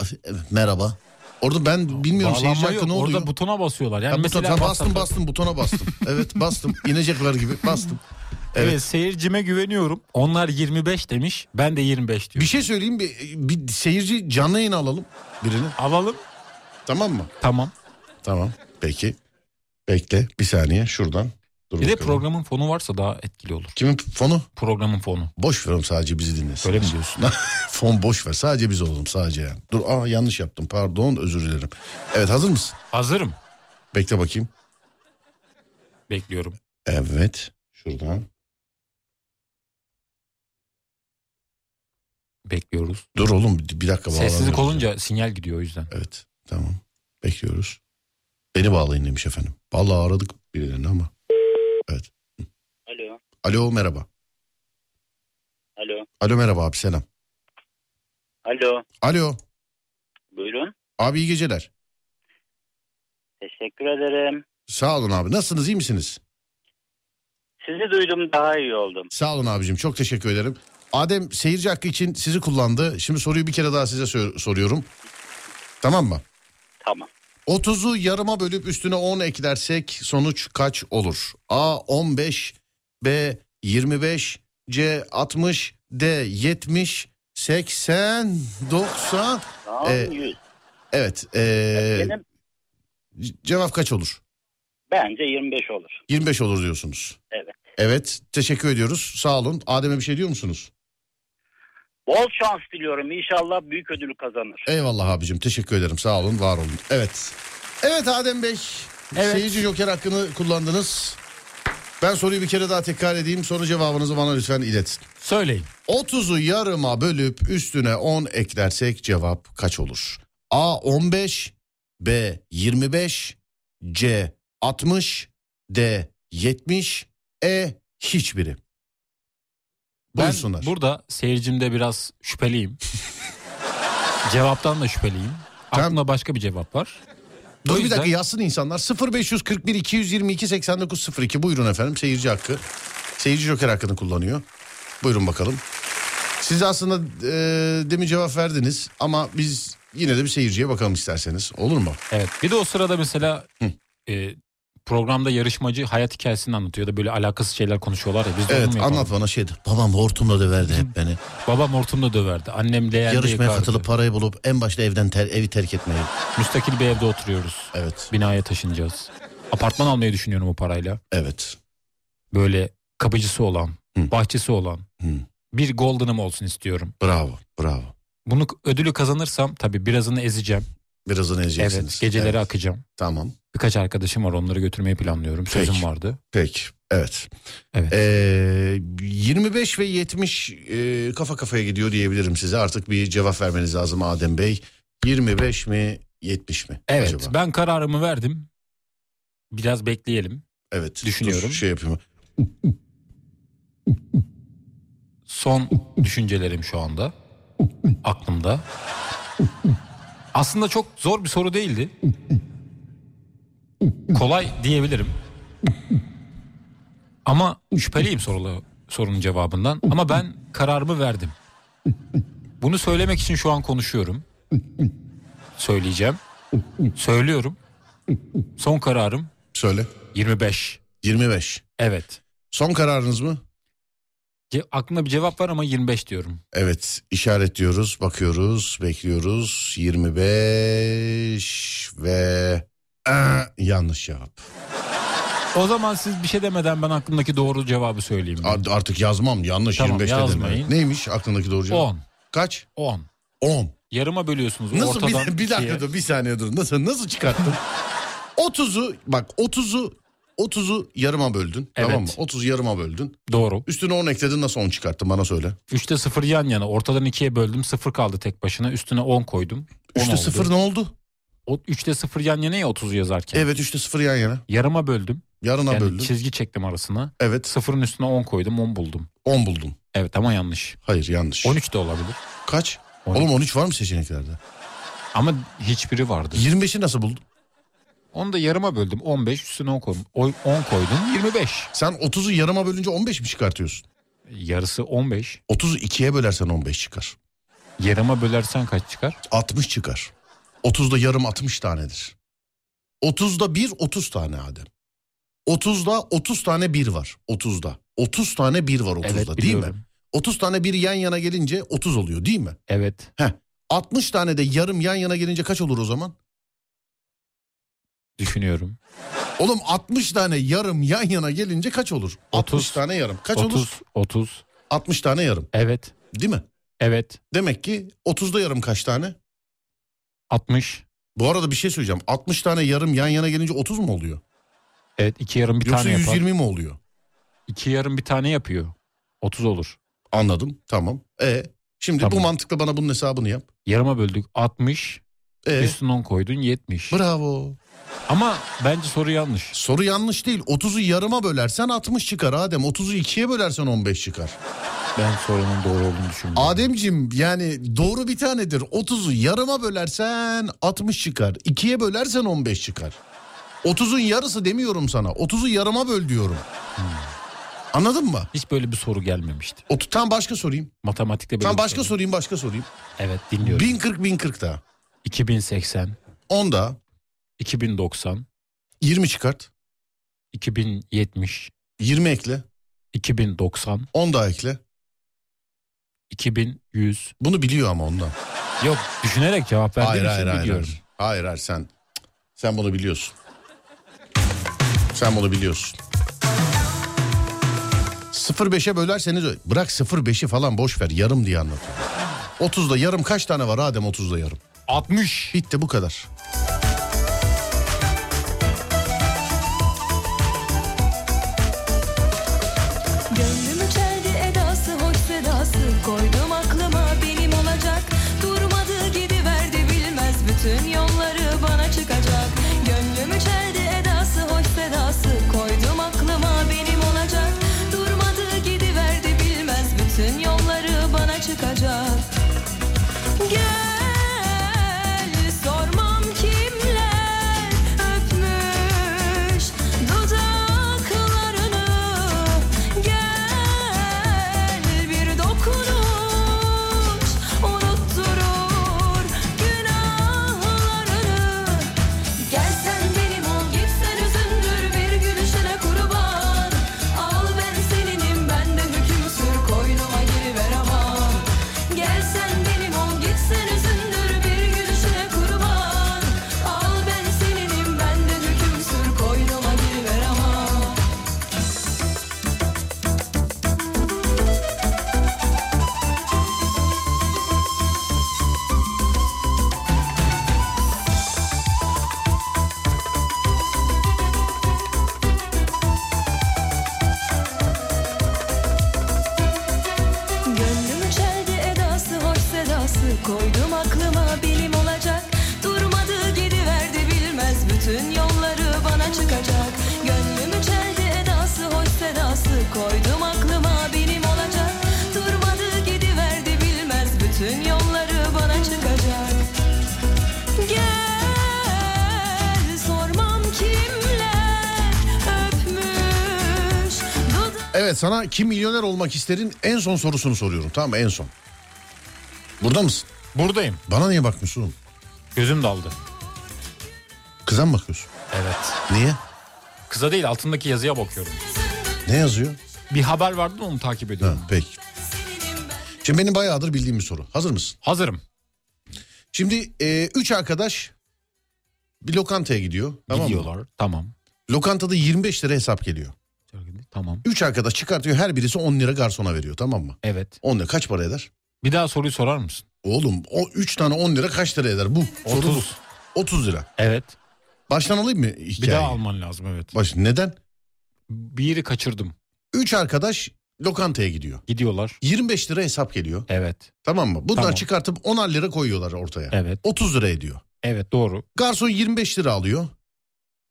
merhaba. Orada ben bilmiyorum seyirci
Bağlanma
hakkı ne
yok.
oluyor.
Orada butona basıyorlar. Yani
Ha, buton-
mesela
ha, bastım
WhatsApp'ta-
bastım butona bastım. evet bastım. İnecekler gibi bastım.
Evet.
Evet.
seyircime güveniyorum. Onlar 25 demiş. Ben de 25
Bir
diyorum.
şey söyleyeyim bir, bir seyirci canlı yayına alalım birini.
Alalım.
Tamam mı?
Tamam.
Tamam. Peki. Bekle bir saniye şuradan. Dur
Bir de
bakalım.
programın fonu varsa daha etkili olur.
Kimin fonu?
Programın fonu.
Boş ver oğlum sadece bizi dinlesin.
Öyle mi diyorsun?
Fon boş ver sadece biz olalım sadece yani. Dur aa yanlış yaptım pardon özür dilerim. Evet hazır mısın?
Hazırım.
Bekle bakayım.
Bekliyorum.
Evet. Şuradan.
Bekliyoruz.
Dur oğlum bir bir dakika bağlanıyoruz.
Sessizlik olunca sinyal gidiyor o yüzden.
Evet tamam bekliyoruz. Beni bağlayın demiş efendim. Vallahi aradık birilerini ama. Evet.
Alo.
Alo merhaba.
Alo.
Alo merhaba abi selam.
Alo.
Alo
Buyurun.
abi iyi geceler.
Teşekkür ederim.
Sağ olun abi nasılsınız iyi misiniz?
Sizi duydum daha iyi oldum.
Sağ olun abicim çok teşekkür ederim. Adem seyirci hakkı için sizi kullandı. Şimdi soruyu bir kere daha size sor- soruyorum. Tamam mı?
Tamam.
30'u yarıma bölüp üstüne 10 eklersek sonuç kaç olur? A 15, B 25, C 60, D 70, 80, 90.
Tamam.
Ee,
yüz.
Evet. ee,
Benim
c- cevap kaç olur?
bence 25 olur.
25 olur diyorsunuz.
Evet.
Evet. Teşekkür ediyoruz. Sağ olun. Adem'e bir şey diyor musunuz?
Bol şans diliyorum. İnşallah büyük ödülü kazanır.
Eyvallah abicim. Teşekkür ederim. Sağ olun. Var olun. Evet. Evet Adem Bey.
Evet.
Seyirci joker hakkını kullandınız. Ben soruyu bir kere daha tekrar edeyim. Sonra cevabınızı bana lütfen iletin.
Söyleyin.
30'u yarıma bölüp üstüne 10 eklersek cevap kaç olur? A 15, B 25, C 60, D 70, E hiçbiri. Buyursunlar.
Ben burada seyircimde biraz şüpheliyim. Cevaptan da şüpheliyim.
Tamam.
Aklımda başka bir cevap var.
Dur
O
bir
yüzden-
dakika yazsın insanlar. 0541 222 8902 buyurun efendim seyirci hakkı. Seyirci joker hakkını kullanıyor. Buyurun bakalım. Siz aslında e, demin cevap verdiniz ama biz yine de bir seyirciye bakalım isterseniz. Olur mu?
Evet. Bir de o sırada mesela e, programda yarışmacı hayat hikayesini anlatıyor ya da böyle alakasız şeyler konuşuyorlar ya. Biz de onu mu
Evet
yapalım?
anlat bana şey. Babam hortumla döverdi hep beni.
Babam hortumla döverdi. Annem leğende
Yarışmaya
yakardı.
katılıp parayı bulup en başta evden ter- evi terk etmeyi.
Müstakil bir evde oturuyoruz.
Evet.
Binaya taşınacağız. Apartman almayı düşünüyorum o parayla.
Evet.
Böyle kapıcısı olan,
Hı.
bahçesi olan.
Hı.
Bir golden'ım olsun istiyorum.
Bravo. Bravo.
Bunu ödülü kazanırsam tabii birazını ezeceğim.
Birazını ezeceksiniz.
Evet, geceleri
Evet,
akacağım.
Tamam.
Birkaç arkadaşım var onları götürmeyi planlıyorum. Sözüm
Peki.
vardı.
Peki. Evet.
Evet.
Ee, 25 ve 70 e, kafa kafaya gidiyor diyebilirim size. Artık bir cevap vermeniz lazım Adem Bey. 25 mi 70 mi?
Evet
acaba?
ben kararımı verdim. Biraz bekleyelim.
Evet.
düşünüyorum.
Dur, şey yapayım.
Son düşüncelerim şu anda aklımda. Aslında çok zor bir soru değildi. Kolay diyebilirim. Ama şüpheliyim sorulu, sorunun cevabından. Ama ben kararımı verdim. Bunu söylemek için şu an konuşuyorum. Söyleyeceğim. Söylüyorum. Son kararım
Söyle.
25.
25.
Evet.
Son kararınız mı?
Ce- aklımda bir cevap var ama 25 diyorum.
Evet işaretliyoruz, bakıyoruz, bekliyoruz. 25 ve Aa, yanlış cevap.
O zaman siz bir şey demeden ben aklımdaki doğru cevabı söyleyeyim.
A- Artık yazmam yanlış
Tamam,
25 dedim.
yazmayın.
Neymiş aklındaki doğru cevap?
10.
Kaç?
10.
10.
Yarıma bölüyorsunuz
Nasıl
ortadan.
bir, bir dakika
ikiye.
dur bir saniye dur. Nasıl nasıl çıkarttın? 30'u bak 30'u 30'u yarıma böldün. Tamam mı?
Evet.
30'u yarıma böldün.
Doğru.
Üstüne 10 ekledin nasıl 10 çıkarttın bana söyle.
3'te 0 yan yana. Ortadan ikiye böldüm. 0 kaldı tek başına. Üstüne 10 koydum. 10
3'te
oldu.
0 ne oldu?
O 3'te 0 yan yana ya 30'u yazarken.
Evet 3'te 0 yan yana.
Yarıma böldüm.
Yarına
Yani
böldün.
çizgi çektim arasına.
Evet
0'ın üstüne 10 koydum. 10 buldum.
10 buldun.
Evet ama yanlış.
Hayır yanlış.
13 de olabilir.
Kaç?
12.
Oğlum 13 var mı seçeneklerde?
Ama hiçbiri vardı.
25'i nasıl buldun?
Onu da yarıma böldüm. 15 üstüne 10 koydum. Oy- 10 koydum. 25.
Sen 30'u yarıma bölünce 15 mi çıkartıyorsun?
Yarısı 15.
30'u ikiye bölersen 15 çıkar.
Yarıma bölersen kaç çıkar?
60 çıkar. 30'da yarım 60 tanedir. 30'da 1 30 tane Adem. 30'da 30 tane 1 var. 30'da. 30 tane 1 var 30'da değil mi?
biliyorum.
30 tane 1 yan yana gelince 30 oluyor değil mi?
Evet.
Heh. 60 tane de yarım yan yana gelince kaç olur o zaman?
Düşünüyorum.
Oğlum 60 tane yarım yan yana gelince kaç olur? 60
Otuz.
tane yarım. Kaç
30,
olur?
30.
60 tane yarım.
Evet.
Değil mi?
Evet.
Demek ki 30'da yarım kaç tane?
60.
Bu arada bir şey söyleyeceğim. 60 tane yarım yan yana gelince 30 mu oluyor?
Evet iki yarım bir
Yoksa
tane
120
yapar.
mi oluyor?
İki yarım bir tane yapıyor. 30 olur.
Anladım. Tamam. E şimdi bu
Tamam.
mantıkla bana bunun hesabını yap.
Yarıma böldük 60.
E
Üstüne 10 koydun 70.
bravo.
Ama bence soru yanlış.
Soru yanlış değil. 30'u yarıma bölersen 60 çıkar Adem. 30'u ikiye bölersen 15 çıkar.
Ben sorunun doğru olduğunu düşünmüyorum.
Ademcim yani doğru bir tanedir. 30'u yarıma bölersen 60 çıkar. İkiye bölersen 15 çıkar. 30'un yarısı demiyorum sana. 30'u yarıma böl diyorum. Hmm. Anladın mı?
Hiç böyle bir soru gelmemişti.
Otu, tam başka sorayım.
Matematikte böyle
Tam
bir
başka
soru.
sorayım başka sorayım.
Evet dinliyorum.
1040 1040 da.
2080,
10 da
2090,
20 çıkart.
2070,
20 ekle.
2090,
10 daha ekle.
2100.
Bunu biliyor ama ondan.
Yok düşünerek cevap verdiğim
hayır
için
hayır hayır.
biliyorum.
Hayır hayır hayır, sen. Sen bunu biliyorsun. Sen bunu biliyorsun. 05'e bölerseniz ö- bırak 05'i falan boş ver yarım diye anlatıyor. 30'da yarım kaç tane var Adem 30'da yarım?
60.
Bitti bu kadar.
Gönlümü çeldi edası hoş sedası Koydum aklıma benim olacak Durmadığı gibi verdi bilmez Bütün yolları bana çıkacak Gönlümü çeldi edası hoş sedası Koydum aklıma benim olacak Durmadığı gibi verdi bilmez Bütün yolları bana çıkacak Gel sormam
Evet sana kim milyoner olmak isterin en son sorusunu soruyorum tamam mı en son. Burada mısın?
Buradayım.
Bana niye bakmıyorsun oğlum?
Gözüm daldı.
Kıza mı bakıyorsun?
Evet.
Niye?
Kıza değil altındaki yazıya bakıyorum.
Ne yazıyor?
Bir haber vardı da onu takip
Ha,
ediyorum.
peki. Şimdi benim bayağıdır bildiğim bir soru. Hazır mısın?
Hazırım.
Şimdi e, üç arkadaş bir lokantaya gidiyor. Tamam mı?
Gidiyorlar. Tamam.
Lokantada 25 lira hesap geliyor.
Tamam.
Üç arkadaş çıkartıyor her birisi 10 lira garsona veriyor tamam mı?
Evet.
10 lira kaç para eder?
Bir daha soruyu sorar mısın?
Oğlum o 3 tane 10 lira kaç lira eder bu? Soru bu.
30.
30 lira.
Evet.
Baştan alayım mı
Bir
hikayeyi?
daha alman lazım evet.
Baş, neden?
Bir yeri kaçırdım.
Üç arkadaş lokantaya gidiyor.
Gidiyorlar.
25 lira hesap geliyor.
Evet.
Tamam mı? Bunlar
Tamam.
çıkartıp 10'ar lira koyuyorlar ortaya.
Evet.
30 lira ediyor.
Evet doğru.
Garson 25 lira alıyor.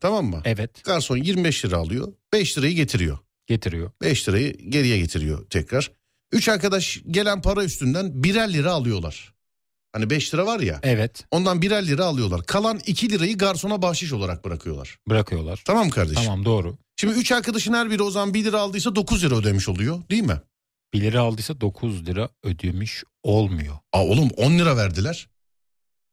Tamam mı?
Evet.
Garson 25 lira alıyor. 5 lirayı getiriyor.
Getiriyor.
5 lirayı geriye getiriyor tekrar. Üç arkadaş gelen para üstünden birer lira alıyorlar. Hani 5 lira var ya.
Evet.
Ondan birer lira alıyorlar. Kalan 2 lirayı garsona bahşiş olarak bırakıyorlar.
Bırakıyorlar.
Tamam mı kardeşim?
Tamam doğru.
Şimdi üç arkadaşın her biri o zaman 1 lira aldıysa 9 lira ödemiş oluyor değil mi?
1 lira aldıysa 9 lira ödemiş olmuyor.
Aa oğlum 10 lira verdiler.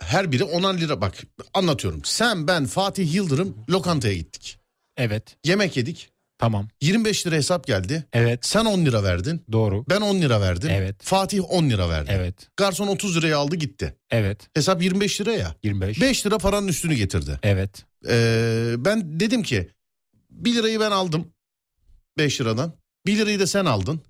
Her biri 10'ar lira bak anlatıyorum. Sen ben Fatih Yıldırım lokantaya gittik.
Evet.
Yemek yedik.
Tamam.
25 lira hesap geldi.
Evet.
Sen 10 lira verdin.
Doğru.
Ben 10 lira verdim.
Evet.
Fatih 10 lira verdi.
Evet.
Garson 30 liraya aldı gitti.
Evet.
Hesap 25 lira ya.
25.
5 lira paranın üstünü getirdi.
Evet.
Ee, ben dedim ki 1 lirayı ben aldım 5 liradan. 1 lirayı da sen aldın.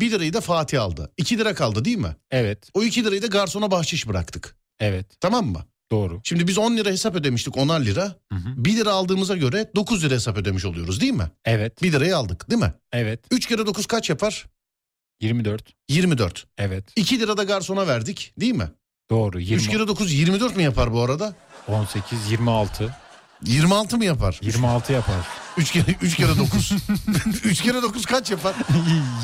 1 lirayı da Fatih aldı. 2 lira kaldı değil mi?
Evet.
O 2 lirayı da garsona bahşiş bıraktık.
Evet.
Tamam mı?
Doğru.
Şimdi biz 10 lira hesap ödemiştik 10'ar lira.
Hı hı.
1 lira aldığımıza göre 9 lira hesap ödemiş oluyoruz değil mi?
Evet.
1 lirayı aldık değil mi?
Evet.
3 kere 9 kaç yapar?
24.
24.
Evet.
2 lira da garsona verdik değil mi?
Doğru. 20,
3 kere 9 24 mi yapar bu arada?
18, 26.
26 mı yapar?
26 yapar.
3 kere 3 kere 9. 3 kere 9 kaç yapar?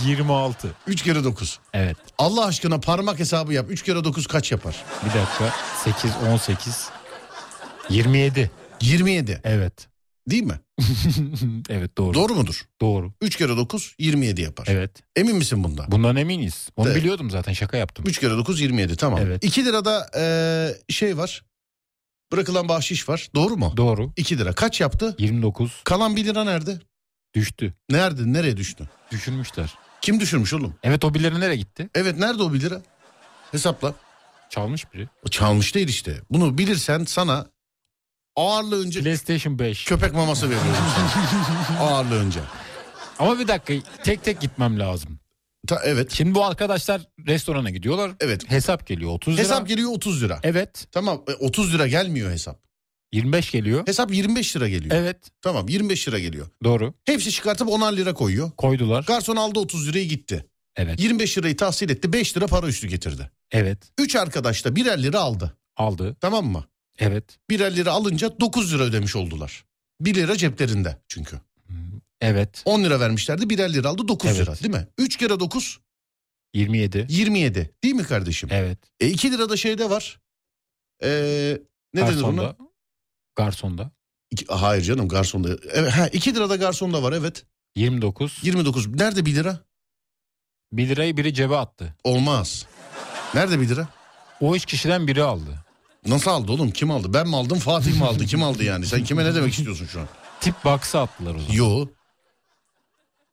26.
3 kere 9.
Evet.
Allah aşkına parmak hesabı yap. 3 kere 9 kaç yapar?
Bir dakika. 8, 18. 27.
27
Evet.
değil mi?
evet doğru.
Doğru mudur?
Doğru.
3 kere 9 27 yapar.
Evet.
Emin misin bunda?
Bundan eminiz. Onu
Evet.
biliyordum zaten şaka yaptım.
3 kere 9 27 tamam.
Evet.
2 lirada eee, şey var. Bırakılan bahşiş var. Doğru mu?
Doğru.
2 lira kaç yaptı?
29
Kalan 1 lira nerede?
düştü.
Nerede? Nereye düştü?
Düşürmüşler.
Kim düşürmüş oğlum?
Evet o birileri nereye gitti?
Evet nerede o 1 lira? Hesapla.
Çalmış biri.
Çalmış değil işte. Bunu bilirsen sana ağırlığı önce
PlayStation 5.
köpek maması veriyorum sana. ağırlığı önce.
Ama bir dakika tek tek gitmem lazım.
Ta, evet.
Şimdi bu arkadaşlar restorana gidiyorlar.
Evet.
Hesap geliyor 30 lira.
Hesap geliyor 30 lira.
Evet.
Tamam e, 30 lira gelmiyor hesap.
25 geliyor.
Hesap 25 lira geliyor.
Evet.
Tamam 25 lira geliyor.
Doğru.
Hepsi çıkartıp 10'ar lira koyuyor.
Koydular.
Garson aldı 30 lirayı gitti.
Evet.
25 lirayı tahsil etti 5 lira para üstü getirdi.
Evet.
3 arkadaş da birer lira aldı
Aldı.
tamam mı?
Evet.
Birer lira alınca 9 lira ödemiş oldular. 1 lira ceplerinde çünkü.
Hmm. Evet.
10 lira vermişlerdi birer lira aldı 9
Evet.
lira değil mi? 3 kere 9
27.
27 değil mi kardeşim?
Evet.
E 2 lira da şeyde var. Ee, ne denir ona?
Garsonda. Garsonda.
İki- hayır canım garsonda. Evet, ha, 2 lira da garsonda var evet.
29.
29 nerede 1 lira?
1 lirayı biri cebe attı.
Olmaz. Nerede 1 lira?
O üç kişiden biri aldı.
Nasıl aldı oğlum? Kim aldı? Ben mi aldım? Fatih mi aldı? Kim aldı yani? Sen kime ne demek istiyorsun şu an?
Tip box'a attılar o zaman.
Yo.
O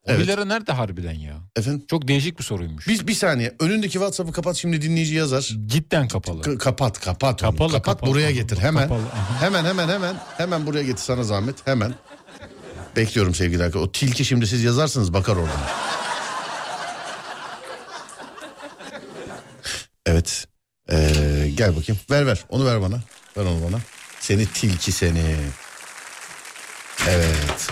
Evet.
bir lira nerede harbiden ya?
Efendim?
Çok değişik bir soruymuş.
Biz bir saniye. Önündeki WhatsApp'ı kapat şimdi dinleyici yazar.
Cidden kapalı.
K- kapat kapat. onu.
Kapalı,
kapat
kapalı,
buraya
kapalı,
getir hemen.
kapalı, aha.
Hemen hemen hemen. Hemen buraya getir sana zahmet. Hemen. Bekliyorum sevgili arkadaşlar. O tilki şimdi siz yazarsınız bakar oradan. Evet. Ee, gel bakayım. Ver ver. Onu ver bana. Ver onu bana. Seni tilki seni. Evet.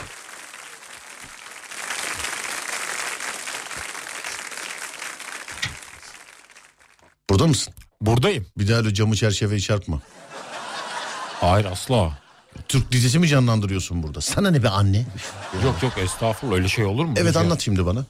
Burada mısın?
Buradayım.
Bir daha öyle camı çerçeveyi çarpma.
Hayır asla.
Türk dizisi mi canlandırıyorsun burada? Sana ne be anne?
Yok yok estağfurullah öyle şey olur mu?
Evet
Ya-
anlat şimdi bana.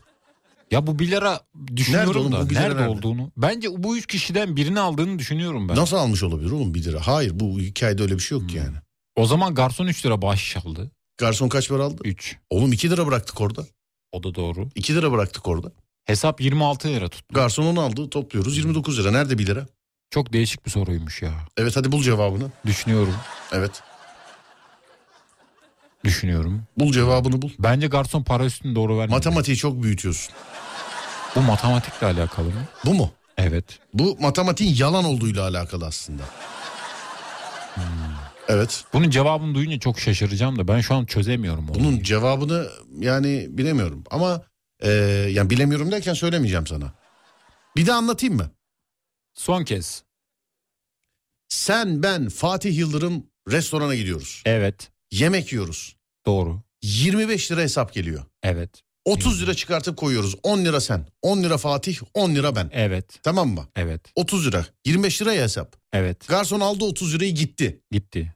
Ya bu bir lira
Nerede
düşünüyorum
oğlum,
da
bu bir lira
nerede,
nerede?
olduğunu. Bence bu üç kişiden birini aldığını düşünüyorum ben.
Nasıl almış olabilir oğlum 1 lira? Hayır bu hikayede öyle bir şey yok ki yani.
O zaman garson 3 lira bahşiş aldı.
Garson kaç para aldı?
3.
Oğlum 2 lira bıraktık orada.
O da doğru.
2 lira bıraktık orada.
Hesap 26 lira tut.
Garson onu aldı topluyoruz 29 lira. Nerede 1 lira?
Çok değişik bir soruymuş ya.
Evet hadi bul cevabını.
Düşünüyorum.
Evet.
Düşünüyorum.
Bul cevabını bul.
Bence garson para üstünü doğru vermiyor.
Matematiği çok büyütüyorsun.
Bu matematikle alakalı mı?
Bu mu?
Evet.
Bu matematiğin yalan olduğuyla alakalı aslında. Hmm. Evet.
Bunun cevabını duyunca çok şaşıracağım da ben şu an çözemiyorum onu.
Bunun cevabını yani bilemiyorum ama e, yani bilemiyorum derken söylemeyeceğim sana. Bir de anlatayım mı?
Son kez.
Sen ben Fatih Yıldırım restorana gidiyoruz.
Evet.
Yemek yiyoruz.
Doğru.
25 lira hesap geliyor.
Evet.
30 lira çıkartıp koyuyoruz. 10 lira sen, 10 lira Fatih, 10 lira ben.
Evet.
Tamam mı?
Evet.
30 lira. 25 liraya hesap.
Evet.
Garson aldı 30 lirayı gitti.
Gitti.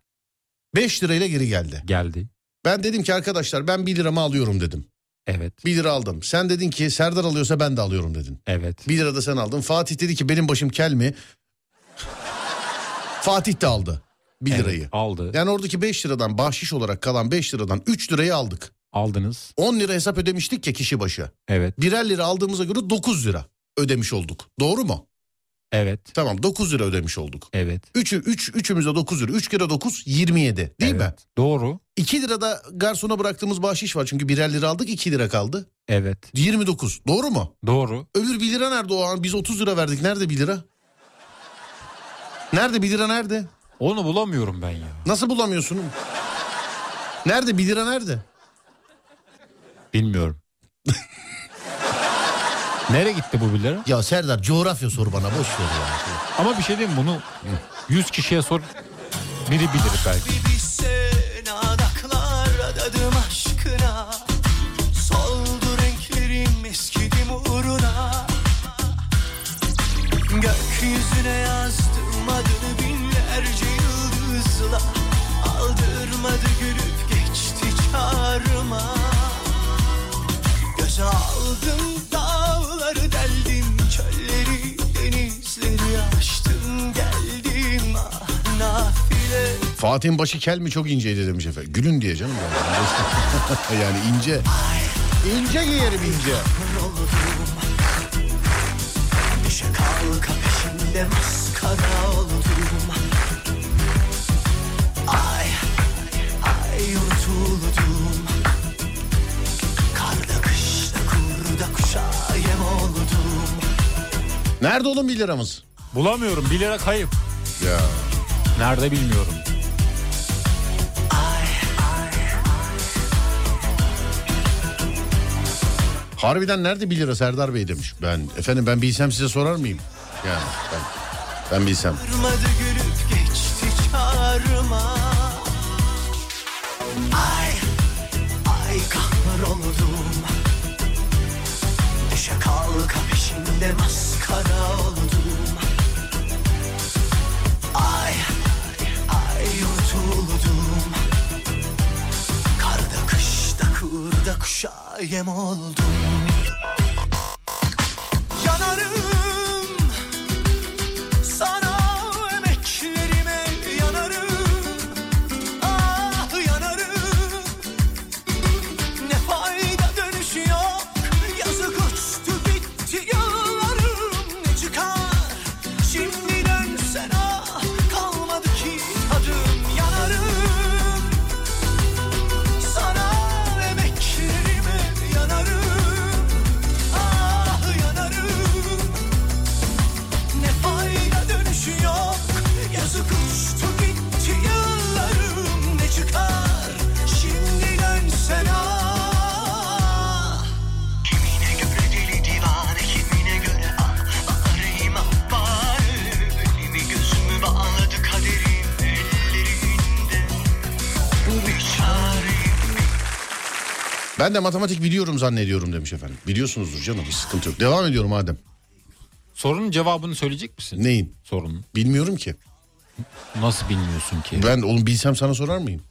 5 lirayla geri geldi.
Geldi.
Ben dedim ki arkadaşlar ben 1 liramı alıyorum dedim.
Evet.
1 lira aldım. Sen dedin ki Serdar alıyorsa ben de alıyorum dedin.
Evet.
1 lira da sen aldın. Fatih dedi ki benim başım kel mi? Fatih de aldı 1
Evet,
lirayı.
Aldı.
Yani oradaki 5 liradan bahşiş olarak kalan 5 liradan 3 lirayı aldık.
Aldınız.
10 lira hesap ödemiştik ya kişi başı.
Evet.
Birer lira aldığımıza göre 9 lira ödemiş olduk. Doğru mu?
Evet.
Tamam 9 lira ödemiş olduk.
Evet.
3'ü 3 üçümüzde 9 lira. 3 kere 9 27 değil mi?
Evet. Doğru.
2 lira da garsona bıraktığımız bahşiş var. Çünkü birer lira aldık 2 lira kaldı.
Evet.
29 doğru mu?
Doğru.
Öbür 1 lira nerede o an? Biz 30 lira verdik. Nerede 1 lira? Nerede 1 lira nerede?
Onu bulamıyorum ben ya.
Nasıl bulamıyorsun? Nerede 1 lira nerede?
Bilmiyorum. Nereye gitti bu birileri?
Ya Serdar coğrafya sor bana boş ver ya.
Ama bir şey diyeyim mi? bunu 100 kişiye sor biri bilir belki.
Bir bilsen adaklar adadım aşkına Soldu renklerim eskidim uğruna Gökyüzüne yazdım adını binlerce yıldızla Aldırmadı gülüp geçti çağrıma Göze aldım dağları deldim Çölleri denizleri aştım geldim ah nafile
Fatih'in başı kel mi çok inceydi demiş efendim. Gülün diye canım. Yani, yani ince. İnce giyerim ince.
Düşe kalka peşinde maskara oldum Ay, ay unutuldum Karda kışta kurda kuşa yem oldum
Nerede oğlum 1 liramız?
Bulamıyorum 1 lira kayıp.
Ya.
Nerede bilmiyorum.
Harbiden nerede 1 lira Serdar Bey demiş. Ben efendim ben bilsem size sorar mıyım? Yani ben, ben bilsem.
Durmadı gülüp geçti çağırma Ay, ay kahroldum Düşe kalka peşinde maskara oldum Ay, ay yutuldum Karda kışta kurda kuşa yem oldum Yanarım sana emeklerime yanarım Ah yanarım Ne fayda dönüşü yok Yazık uçtu bitti yıllarım Ne çıkar şimdi dönsen ah Kalmadı ki tadım yanarım Sana emeklerime yanarım Ah yanarım ne fayda dönüşü yok Yazık uçtu gitti yıllarım Ne çıkar şimdi dönsen ah Kimine göre deli divane kimine göre ah Baharıyım ah bahar Elimi gözümü bağladı kaderin ellerinde Bir çareyim
Ben de matematik biliyorum zannediyorum demiş efendim. Biliyorsunuzdur canım bir sıkıntı yok. Devam ediyorum Adem.
Sorunun cevabını söyleyecek misin?
Neyin?
Sorun.
Bilmiyorum ki.
Nasıl bilmiyorsun ki?
Ben oğlum bilsem sana sorar mıyım?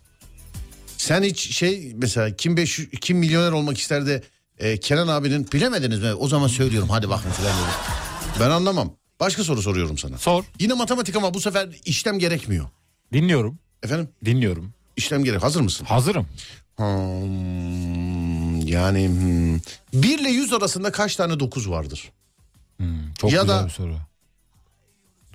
Sen hiç şey mesela kim 500 kim milyoner olmak ister de e, Kenan abinin bilemediniz mi? O zaman söylüyorum hadi bakın filan dedi. Ben anlamam. Başka soru soruyorum sana.
Sor.
Yine matematik ama bu sefer işlem gerekmiyor.
Dinliyorum.
Efendim
Dinliyorum.
işlem gerek. Hazır mısın?
Hazırım.
Hmm, Yani hmm, 1 ile 100 arasında kaç tane 9 vardır?
Çok
Ya
güzel
da-
bir soru.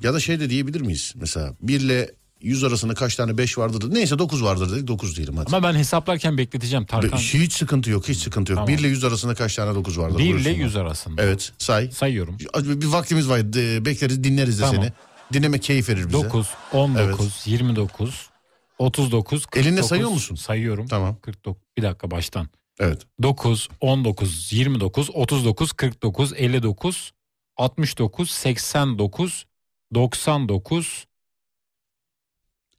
Ya da şey de diyebilir miyiz? Mesela 1 ile 100 arasında kaç tane 5 vardır? Neyse 9 vardır dedik 9 diyelim hadi.
Ama ben hesaplarken bekleteceğim
Be-
Tarkan.
Hiç sıkıntı yok hiç sıkıntı yok.
Tamam.
1 ile 100 arasında kaç tane 9 vardır?
1 ile
Buyursunlar.
100 arasında.
Evet say.
Sayıyorum.
Bir vaktimiz var de- bekleriz dinleriz de
Tamam.
seni. Dinleme keyif verir bize.
9, 19, 29, 39, 49.
Elinle sayıyor musun?
Sayıyorum.
Tamam.
49. Bir dakika baştan.
Evet.
9, 19, 29, 39, 49, 59, 69, 89, 99,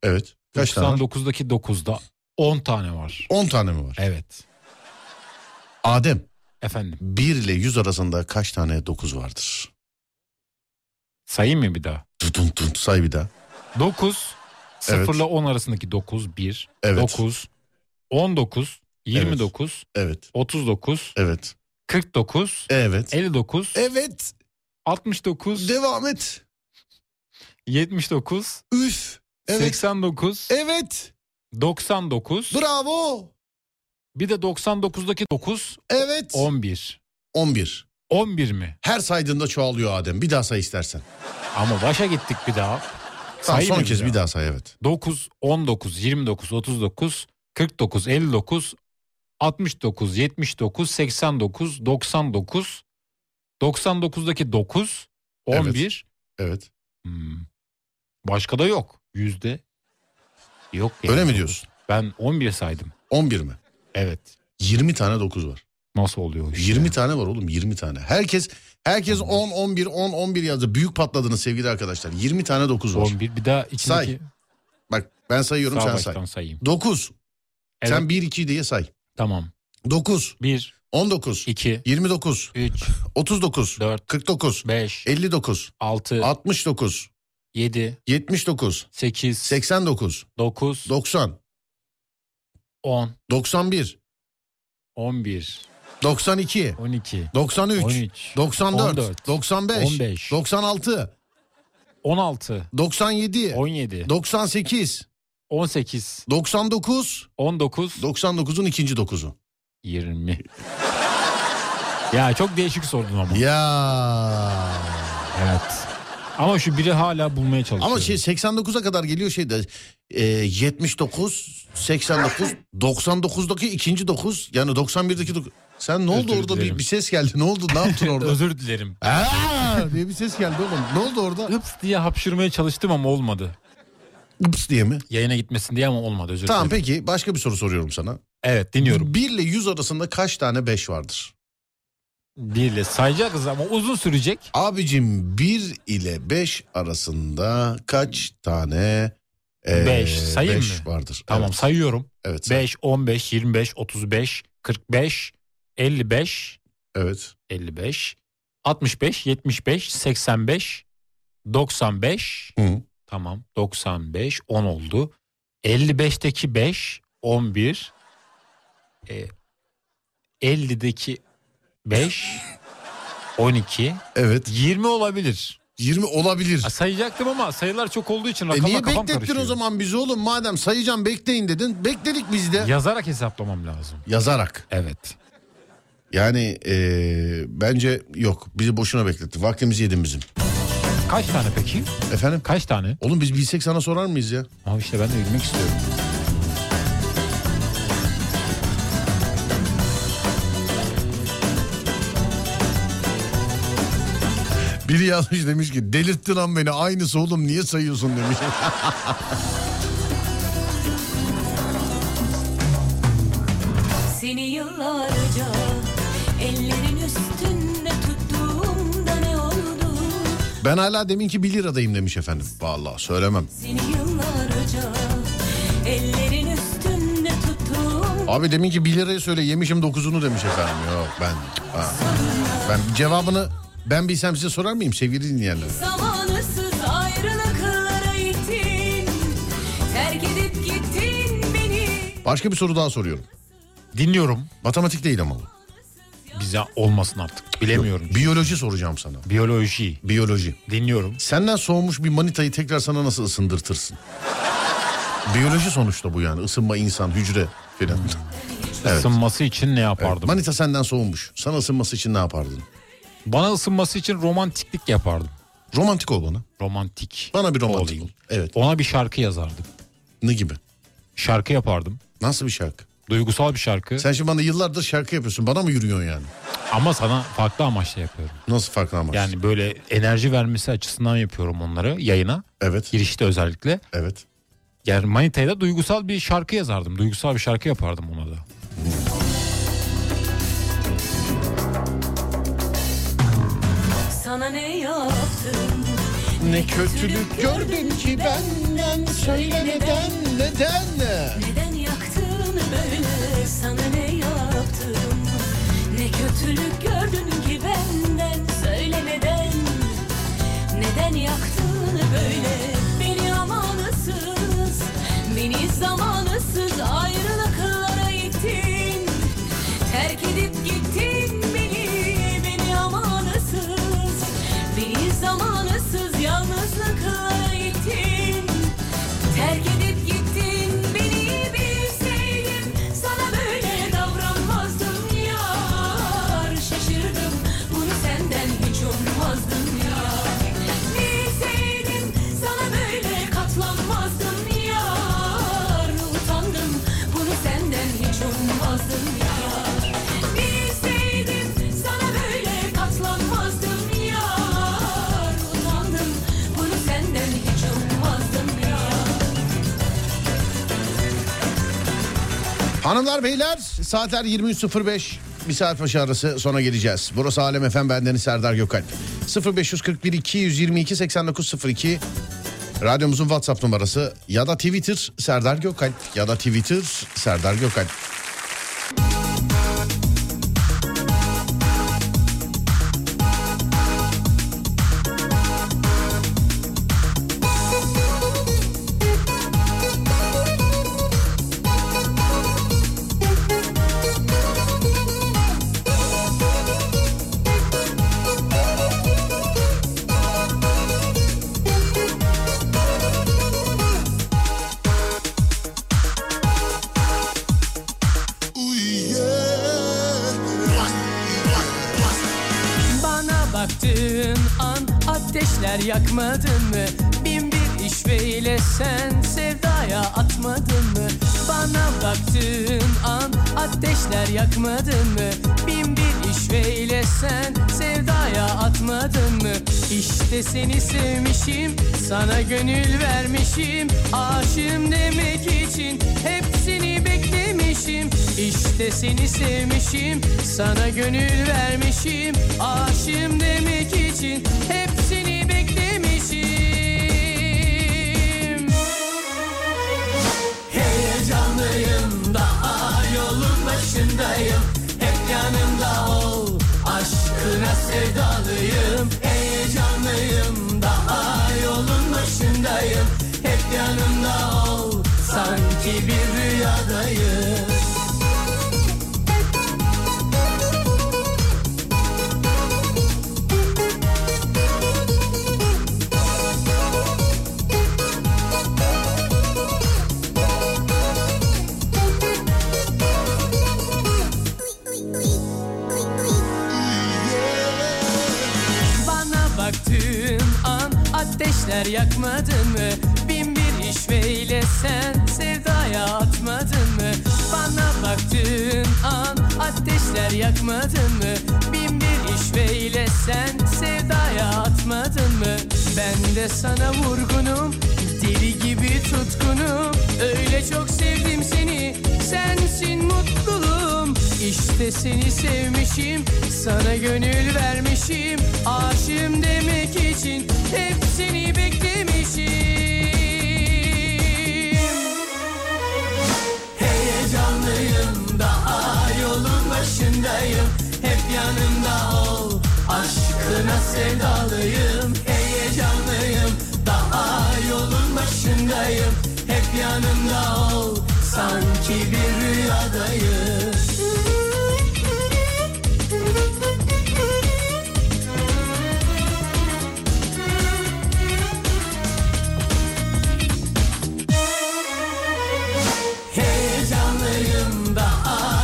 Evet. Kaç tane? var?
99'daki 9'da 10 tane var.
10 tane mi var?
Evet.
Adem
Efendim
1 ile 100 arasında kaç tane 9 vardır?
sayayım mı bir daha?
Tutun tut say bir daha.
9, 0
Evet.
ile 10 arasındaki 9, 1,
Evet.
9, 19, 29,
Evet.
39,
Evet.
49,
Evet.
59,
Evet.
69,
Devam et.
79,
Üf. Evet.
89,
Evet.
99,
Bravo.
bir de 99'daki 9,
Evet.
11.
11.
11 mi?
Her saydığında çoğalıyor Adem. Bir daha say istersen.
Ama başa gittik bir daha.
Tamam,
Sayayım
son
mı
kez
ya?
bir daha say evet.
9, 19, 29, 39, 49, 59, 69, 79, 89, 99, 99'daki 9, 11.
Evet.
Hmm. Başka da yok. Yüzde yok. yani.
Öyle mi diyorsun?
Ben 11 saydım.
11 mi?
Evet.
20 tane 9 var.
Nasıl oluyor? Işte?
20 tane var oğlum 20 tane. Herkes herkes 10 11 10 11 yazdı. Büyük patladınız sevgili arkadaşlar. 20 tane 9 var.
11 bir daha içindeki
Say. Bak ben sayıyorum
sağ
sen say.
baştan sayayım.
9.
Evet,
Sen 1 2 diye say.
tamam.
9
1
19
2
29
3
39
4
49
5
59
6
69
7
79
8
89
9
90
10
91
11
92
12
93
13
94
14
95
15
96
16
97
17
98
18
99
19
99'un ikinci dokuzu.
20 Ya çok değişik sordun ama.
Ya.
Evet. Ama şu biri hala bulmaya çalışıyorum.
Ama şey 89'a kadar geliyor şeyde e, 79 89 99'daki ikinci dokuz yani 91'deki dokuz. Sen ne oldu
Özür
orada bir,
dilerim.
bir ses geldi. Ne oldu? Ne yaptın orada?
özür dilerim.
Aa diye bir ses geldi oğlum. Ne oldu orada?
Hıps diye hapşırmaya çalıştım ama olmadı.
Ups diye mi?
Yayına gitmesin diye ama olmadı özür
Tamam
dilerim.
peki başka bir soru soruyorum sana.
Evet dinliyorum.
1 ile 100 arasında kaç tane 5 vardır?
Değil sayacağız ama uzun sürecek.
Abicim 1 ile 5 arasında kaç tane
Beş, sayayım
beş
mı?
vardır?
Tamam
Evet,
sayıyorum.
evet, say-
5, 15, 25, 35, 45, 55,
evet.
55, 65, 75, 85, 95.
Hı.
Tamam 95, 10 oldu. 55'teki 5, 11. E, 50'deki 5, 12.
Evet.
20 olabilir.
20 olabilir.
Ha, sayacaktım ama sayılar çok olduğu için
E
rakama
niye
kafam
beklettin
karışıyor.
o zaman bizi oğlum? Madem sayacağım bekleyin dedin. Bekledik biz de.
Yazarak hesaplamam lazım.
Yazarak.
Evet.
Yani eee, bence yok. Bizi boşuna bekletti. Vaktimizi yedin bizim.
Kaç tane peki?
Efendim?
Kaç tane?
Oğlum biz bilsek sana sorar mıyız ya?
Abi işte ben de bilmek istiyorum.
Biri yazmış demiş ki delirttin lan beni aynısı oğlum niye sayıyorsun demiş.
Seni yıllarca ellerin üstünde tuttuğumda ne oldu?
ben hala demin ki 1 liradayım demiş efendim. Vallahi söylemem.
Seni yıllarca ellerin üstünde tuttuğum
Abi demin ki 1 lirayı söyle yemişim 9'unu demiş efendim. Yok ben. ha. Ben cevabını ben bilsem size sorar mıyım sevgili dinleyenler?
zamanısız ayrılıklara ittin. Terk edip gittin beni.
Başka bir soru daha soruyorum.
Dinliyorum.
Matematik değil ama. bu.
Bize olmasın artık. Bilemiyorum.
Biyoloji soracağım sana.
Biyoloji.
Biyoloji.
Dinliyorum.
Senden soğumuş bir manitayı tekrar sana nasıl ısındırtırsın? Biyoloji sonuçta bu yani. Isınma, insan, hücre filan.
Isınması için ne yapardım?
Manita senden soğumuş. Sana ısınması için ne yapardın?
Bana ısınması için romantiklik yapardım.
Romantik ol bana.
Romantik.
Bana bir romantik
Olayım.
ol. Evet.
Ona bir şarkı yazardım.
Ne gibi?
Şarkı yapardım.
Nasıl bir şarkı?
Duygusal bir şarkı.
Sen şimdi bana yıllardır şarkı yapıyorsun. Bana mı yürüyorsun yani?
Ama sana farklı amaçla yapıyorum.
Nasıl farklı amaç?
Yani böyle enerji vermesi açısından yapıyorum onları yayına.
Evet.
Girişte özellikle.
Evet.
Yani Manita'ya da duygusal bir şarkı yazardım. Duygusal bir şarkı yapardım ona da.
Sana ne yaptım?
Ne kötülük gördün ki benden söyle neden neden?
Neden yaktın böyle? Sana ne yaptım? Ne kötülük gördün ki benden? Söyle neden? Neden yaktın böyle? Beni amansız, beni zamanısız ayrılıklara ittin. Terk edip gittin beni, beni amansız, beni zamanısız yalnızlıklara ittin. Terk edip gittin beni bilseydim Sana böyle davranmazdım yar Şaşırdım bunu senden hiç ummazdım yar Bilseydim sana böyle katlanmazdım yar Utandım bunu senden hiç ummazdım yar Bilseydim sana böyle katlanmazdım yar Utandım bunu senden hiç ummazdım yar
Hanımlar beyler saatler 23.05 bir saat başı arası sonra geleceğiz. Burası Alem Efem bendeniz Serdar Gökalp. 0541 222 8902 radyomuzun WhatsApp numarası ya da Twitter Serdar Gökalp ya da Twitter Serdar Gökalp.
Bana baktığın an ateşler yakmadın mı? Bin bir işveyle sen sevdaya atmadın mı? Bana baktığın an ateşler yakmadın mı? Bin bir işveyle sen sevdaya atmadın mı? İşte seni sevmişim, sana gönül vermişim. Aşığım demek için hepsini beklemişim. İşte seni sevmişim, sana gönül vermişim. Aşığım demek için hepsini beklemişim. Heyecanlıyım daha yolun başındayım Hep yanımda ol aşkına sevdalıyım Heyecanlıyım daha yolun başındayım Hep yanımda ol sanki bir rüyadayım Bana baktığın an ateşler yakmadın mı? Bin bir işveyle sen sevdaya atmadın mı? Bana baktığın an ateşler yakmadın mı? Bin bir işveyle sen sevdaya atmadın mı? Ben de sana vurgunum, deli gibi tutkunum. Öyle çok sevdim seni, sensin mutluluğum. İşte seni sevmişim, sana gönül vermişim. Aşığım demek için hepsini beklemişim. Heyecanlıyım, daha yolun başındayım. Hep yanımda ol, aşkına sevdalıyım. Heyecanlıyım, daha yolun başındayım. Hep yanımda ol, sanki bir rüyadayım. Heyecanlıyım daha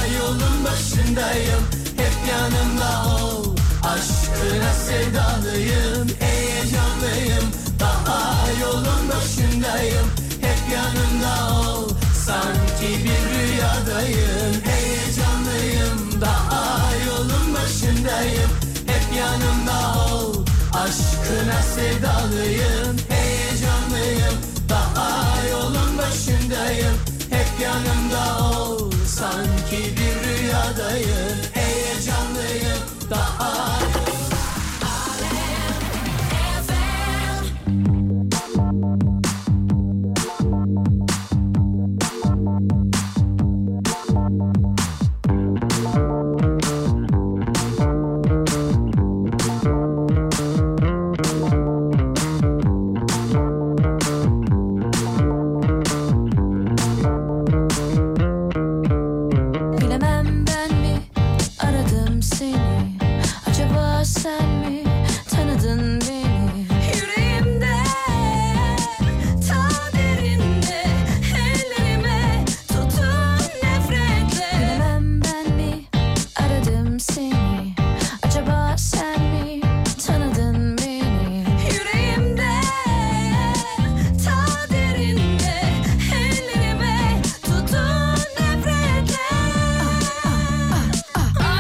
aşkına sevdalıyım Heyecanlıyım daha yolun başındayım Hep yanımda ol sanki bir rüyadayım Heyecanlıyım daha yolun başındayım Hep yanımda ol aşkına sevdalıyım Heyecanlıyım daha yolun başındayım Hep yanımda ol sanki bir rüyadayım Heyecanlıyım daha
Bilemem ben mi aradım seni Acaba sen mi tanıdın beni Yüreğimde ta derinde Ellerime tutun nefretle Bilemem ben mi aradım seni Acaba sen mi tanıdın beni Yüreğimde ta derinde Ellerime tutun nefretle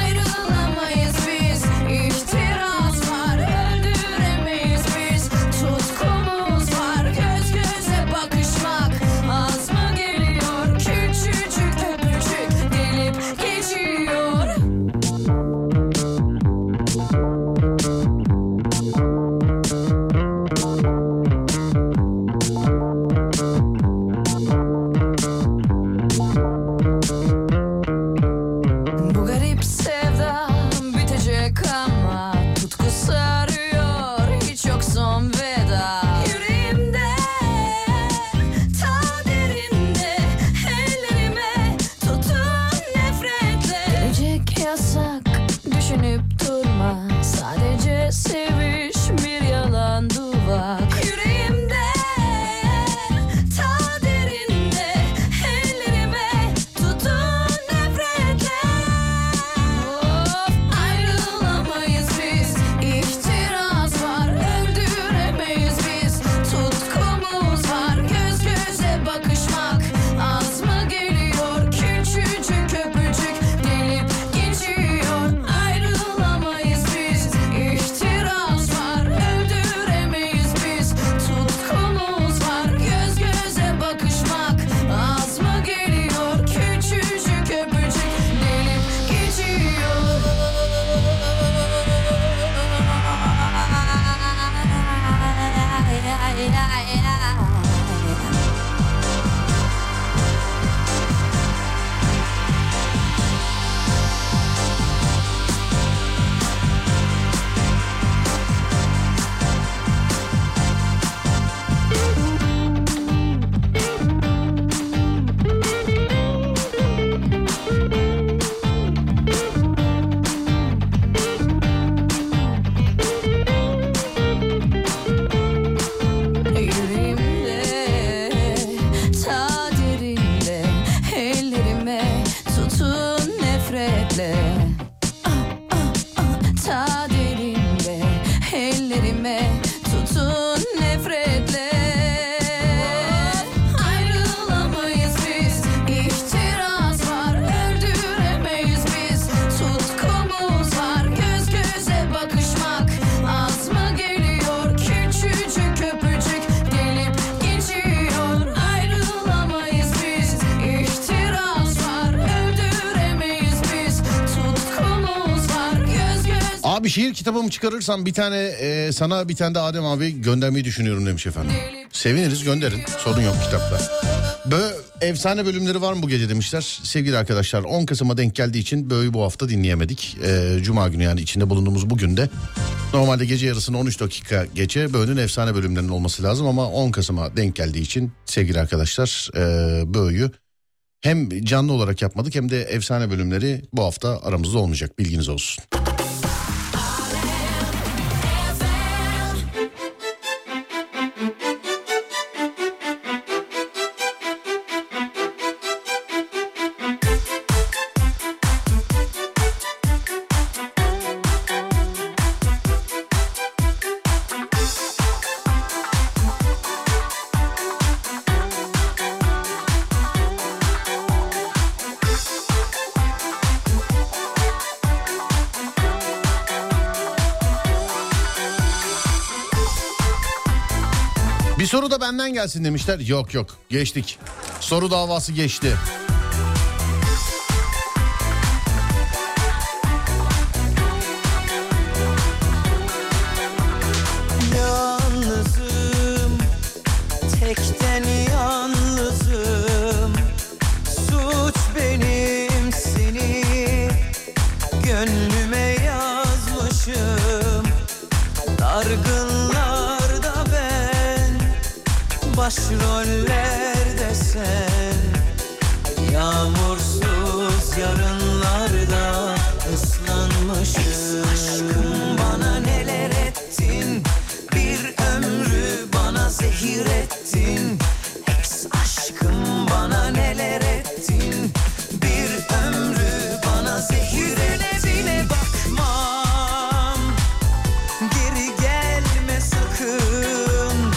Ayrılamayız biz, iftiraz var, öldüremeyiz biz. Tutkumuz var, göz göze bakışmak az mı geliyor? Küçücük öpücük gelip geçiyor. Bu garip sevda bitecek ama tutku sarıyor hiç yok son veda. Yüreğimde ta derinde ellerime tutun nefretle. Gelecek yasak düşünüp durma sadece seviş bir yalan duvak. Yüreğimde ta derinde ellerime tutun nefretle. Of, ayrılamayız biz, iftiraz var, öldüremeyiz biz. Tutkumuz var, göz göze bakışmak az mı geliyor? Küçücük öpücük gelip geçiyor. Ayrılamayız biz, iftiraz var, öldüremeyiz biz. Tutkumuz var, göz göze bakışmak az mı geliyor? Küçücük öpücük gelip geçiyor. Yüreğimde, ta derinde Ellerime tutun nefretle Ah, ah, ah. Ta derinde ellerime tutun nefretle Ayrılamayız biz, iftiraz var, öldüremeyiz biz Tutkumuz var, göz göze bakışmak az mı geliyor? Küçücük öpücük gelip geçiyor Ayrılamayız biz, iftiraz var, öldüremeyiz biz Tutkumuz var, göz göze
Abi şiir kitabımı çıkarırsam bir tane e, sana bir tane de Adem abi göndermeyi düşünüyorum demiş efendim. Seviniriz gönderin sorun yok kitapta. Bö efsane bölümleri var mı bu gece demişler. Sevgili arkadaşlar 10 Kasım'a denk geldiği için Bö'yü bu hafta dinleyemedik. E, Cuma günü yani içinde bulunduğumuz bugün de normalde gece yarısını 13 dakika geçe Bö'nün efsane bölümlerinin olması lazım ama 10 Kasım'a denk geldiği için sevgili arkadaşlar e, Bö'yü hem canlı olarak yapmadık hem de efsane bölümleri bu hafta aramızda olmayacak bilginiz olsun. Bir soru da benden gelsin demişler. Yok yok geçtik. Soru davası geçti.
Yalnızım, tekten yalnızım. Suç benim seni gönlüme yazmışım. Dargınlarda ben, başrollerde sen. Yağmursuz yarınlarda ıslanmışım. Aşkım bana neler ettin? Bir ömrü bana zehir ettin Ex aşkım bana neler ettin Bir ömrü bana zehir ettin Bakmam Geri gelme sakın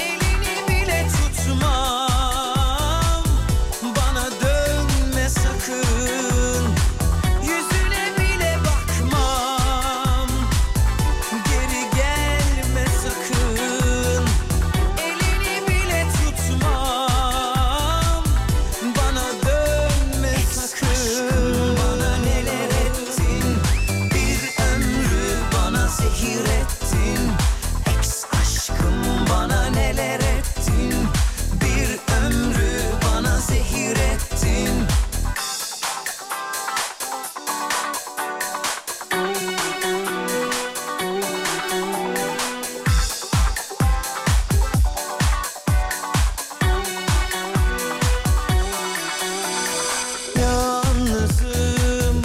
Elini bile tutmam Bana dönme sakın Yüzüne bile bakmam Geri gelme sakın Elini bile tutmam Bana dönme sakın Bana neler ettin Bir ömrü bana zehir ettin Ex aşkım bana neler ettin Bir ömrü bana zehir ettin Yalnızım,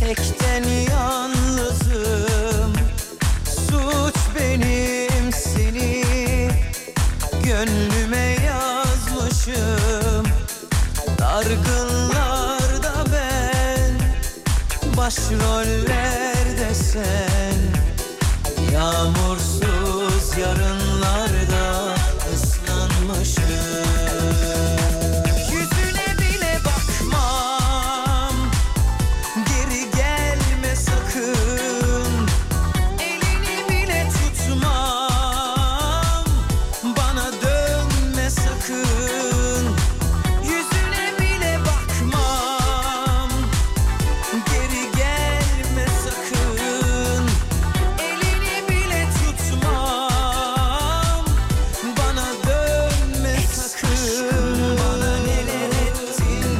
tekten yalnızım. Suç benim seni gönlüme yazmışım. Dargınlarda ben, başrollerde sen. Yağmursuz yarınlarda ıslanmışım. Yüzüne bile bakmam Geri gelme sakın Elini bile tutmam Bana dönme sakın Yüzüne bile bakmam Geri gelme sakın Elini bile tutmam Bana dönme sakın Bana neler ettin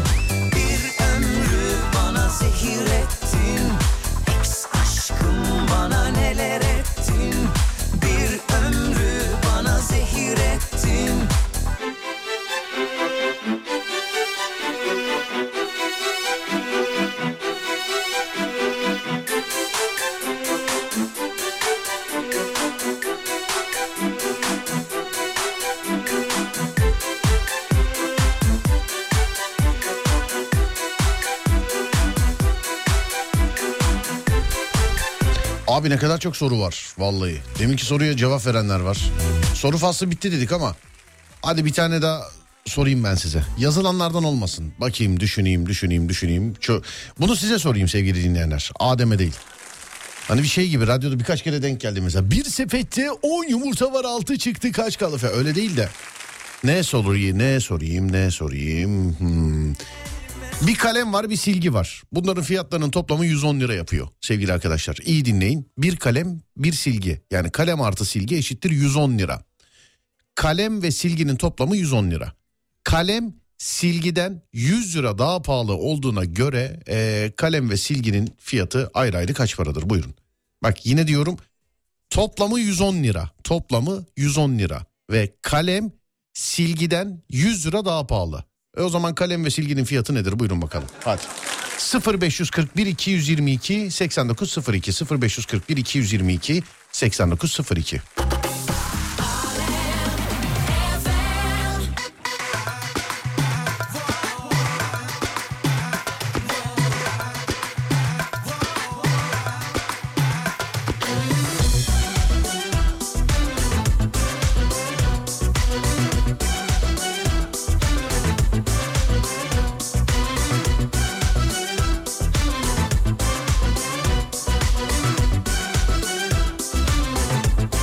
Bir ömrü bana zehir ettin Ex aşkım bana neler ettin Bir ömrü bana zehir ettin
Abi ne kadar çok soru var vallahi. Deminki soruya cevap verenler var. Soru faslı bitti dedik ama hadi bir tane daha sorayım ben size. Yazılanlardan olmasın. Bakayım, düşüneyim, düşüneyim, düşüneyim. Çö- Bunu size sorayım sevgili dinleyenler. Adem'e değil. Hani bir şey gibi radyoda birkaç kere denk geldi mesela. Bir sepette 10 yumurta var 6 çıktı kaç kaldı falan. Öyle değil de. Ne sorayım, ne sorayım, ne sorayım. Hmm. Bir kalem var bir silgi var. Bunların fiyatlarının toplamı 110 lira yapıyor sevgili arkadaşlar. İyi dinleyin. Bir kalem bir silgi. Yani kalem artı silgi eşittir 110 lira. Kalem ve silginin toplamı 110 lira. Kalem silgiden 100 lira daha pahalı olduğuna göre eee, kalem ve silginin fiyatı ayrı ayrı kaç paradır buyurun. Bak yine diyorum toplamı 110 lira. Toplamı 110 lira ve kalem silgiden 100 lira daha pahalı. E o zaman kalem ve silginin fiyatı nedir? Buyurun bakalım. Hadi. 0541 222 8902 0541 222 8902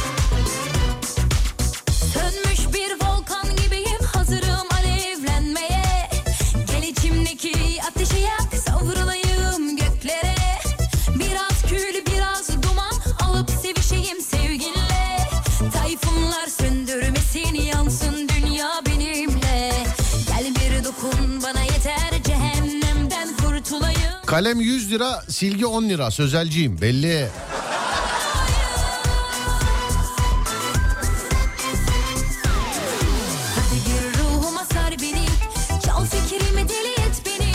Yalnızım
Kalem 100 lira, silgi 10 lira. Sözelciyim belli.
Hadi gir ruhuma sar beni Çal fikrimi deli et beni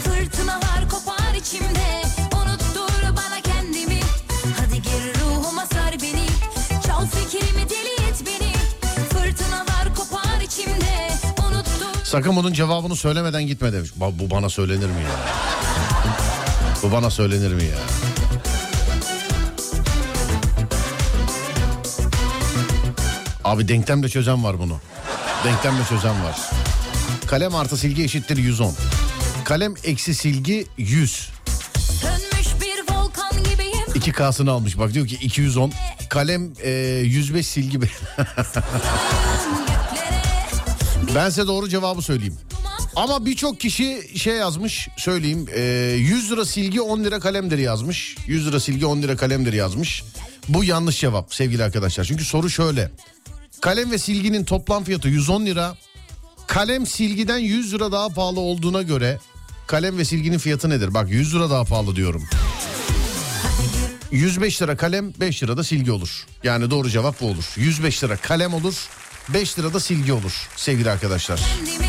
Fırtınalar kopar içimde Unuttur bana kendimi Hadi gir ruhuma sar beni Çal fikrimi deli et beni Fırtınalar kopar içimde Unuttur
Sakın bunun cevabını söylemeden gitme demiş. Ba- bu bana söylenir mi ya? bu bana söylenir mi ya? Abi denklemle çözen var bunu. Denklemle çözen var. Kalem artı silgi eşittir 110. Kalem eksi silgi 100.
Sönmüş bir volkan gibiyim
2K'sını almış bak diyor ki 210. Kalem e, 105 silgi.
Göklere
ben size doğru cevabı söyleyeyim.
duman
Ama birçok kişi şey yazmış söyleyeyim e, 100 lira silgi 10 lira kalemdir yazmış. 100 lira silgi 10 lira kalemdir yazmış. Bu yanlış cevap sevgili arkadaşlar. Çünkü soru şöyle. Kalem ve silginin toplam fiyatı 110 lira. Kalem silgiden 100 lira daha pahalı olduğuna göre kalem ve silginin fiyatı nedir? Bak 100 lira daha pahalı diyorum. 105 lira kalem 5 lira da silgi olur. Yani doğru cevap bu olur. 105 lira kalem olur 5 lira da silgi olur sevgili arkadaşlar.
kendimi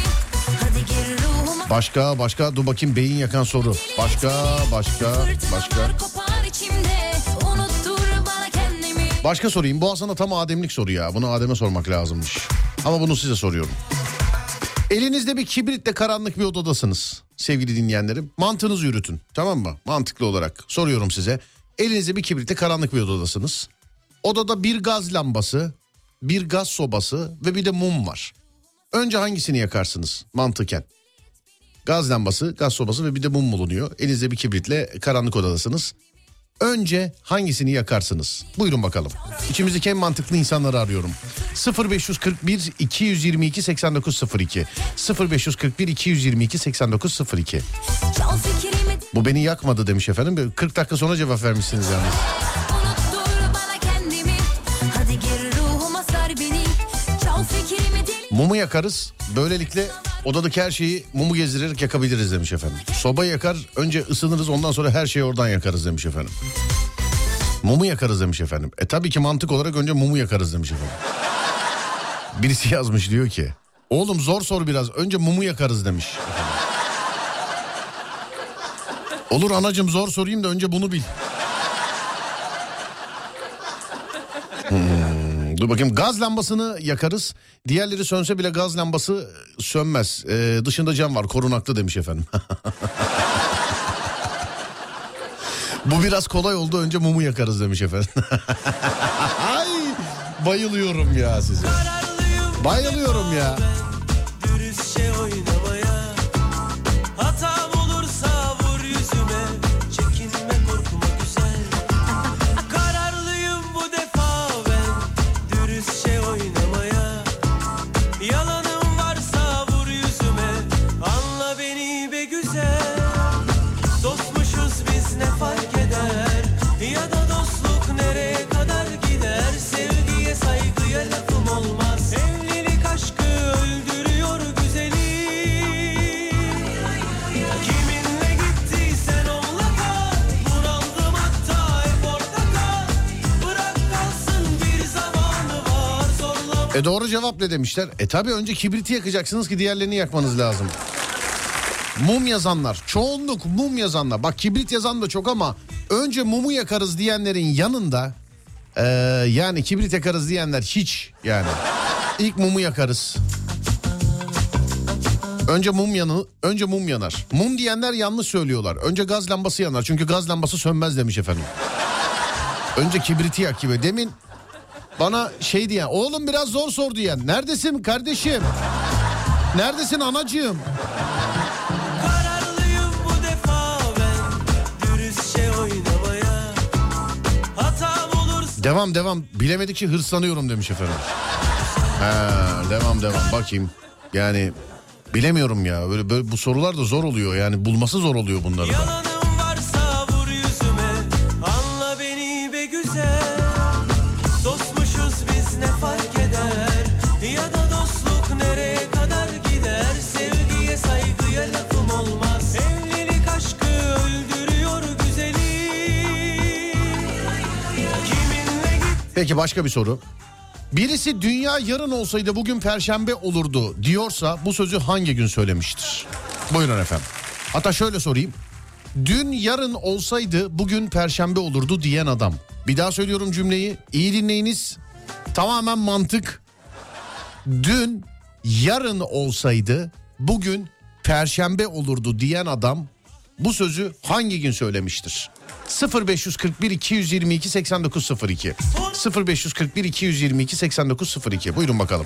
Hadi gir ruhuma
Başka başka dur bakayım beyin yakan soru. Başka başka başka.
Fırtınalar kopar içimde Unuttur bana kendimi
Başka sorayım. Bu aslında tam Ademlik soru ya. Bunu Adem'e sormak lazımmış. Ama bunu size soruyorum. Elinizde bir kibritle karanlık bir odadasınız sevgili dinleyenlerim. Mantığınızı yürütün tamam mı? Mantıklı olarak soruyorum size. Elinizde bir kibritle karanlık bir odadasınız. Odada bir gaz lambası, bir gaz sobası ve bir de mum var. Önce hangisini yakarsınız mantıken? Gaz lambası, gaz sobası ve bir de mum bulunuyor. Elinizde bir kibritle karanlık odadasınız. Önce hangisini yakarsınız? Buyurun bakalım. İçimizdeki en mantıklı insanları arıyorum. 0541 222 8902 0541 222 8902
Çal fikrimi
Bu beni yakmadı demiş efendim. Böyle 40 dakika sonra cevap vermişsiniz yalnız.
Unuttur bana kendimi Hadi gir ruhuma sar beni Çal fikrimi deli
Mumu yakarız. Böylelikle odadaki her şeyi mumu gezdirerek yakabiliriz demiş efendim. Soba yakar önce ısınırız ondan sonra her şeyi oradan yakarız demiş efendim. Mumu yakarız demiş efendim. E tabii ki mantık olarak önce mumu yakarız demiş efendim. Birisi yazmış diyor ki oğlum zor sor biraz önce mumu yakarız demiş. efendim. Olur anacım zor sorayım da önce bunu bil. Hmm, Dur bakayım gaz lambasını yakarız. Diğerleri sönse bile gaz lambası sönmez. Ee, dışında cam var korunaklı demiş efendim. Bu biraz kolay oldu önce mumu yakarız demiş efendim. Ay, bayılıyorum ya size. Bayılıyorum ya.
Dürüstçe oynamaya Hatam olursa vur yüzüme Çekinme korkma güzel Kararlıyım bu defa ben Dürüstçe oynamaya Yalanım varsa vur yüzüme Anla beni be güzel Dostmuşuz biz ne fark eder Ya da dostluk nereye kadar gider Sevgiye saygıya lafım olmaz Evlilik aşkı öldürüyor güzeli Kiminle gittiysen onunla kal Bunaldım hatta hep orada kal Bırak kalsın bir zamanı var Zorlama
E doğru cevap ne demişler? E tabi önce kibriti yakacaksınız ki diğerlerini yakmanız lazım. Mum yazanlar, çoğunluk mum yazanlar. Bak kibrit yazan da çok ama önce mumu yakarız diyenlerin yanında e, yani kibrit yakarız diyenler hiç yani. İlk mumu yakarız. Önce mum yanı, önce mum yanar. Mum diyenler yanlış söylüyorlar. Önce gaz lambası yanar çünkü gaz lambası sönmez demiş efendim. Önce kibriti yak gibi. Demin bana şey diyen oğlum biraz zor sor diyen neredesin kardeşim? Neredesin anacığım?
Kararlıyım bu defa ben Dürüstçe oynamaya Hatam olursa
Devam devam bilemedikçe hırslanıyorum demiş efendim. Ha, devam devam bakayım yani bilemiyorum ya böyle, böyle bu sorular da zor oluyor yani bulması zor oluyor bunları da.
Yalanım varsa vur yüzüme Anla beni be güzel Dostmuşuz biz ne fark eder Ya da dostluk nereye kadar gider Sevgiye saygıya lafım olmaz Evlilik aşkı öldürür
Peki başka bir soru. Birisi dünya yarın olsaydı bugün perşembe olurdu diyorsa bu sözü hangi gün söylemiştir? Buyurun efendim. Hatta şöyle sorayım. Dün yarın olsaydı bugün perşembe olurdu diyen adam. Bir daha söylüyorum cümleyi. İyi dinleyiniz. Tamamen mantık. Dün yarın olsaydı bugün perşembe olurdu diyen adam bu sözü hangi gün söylemiştir? 0541 222 8902 0541 222 8902 buyurun bakalım.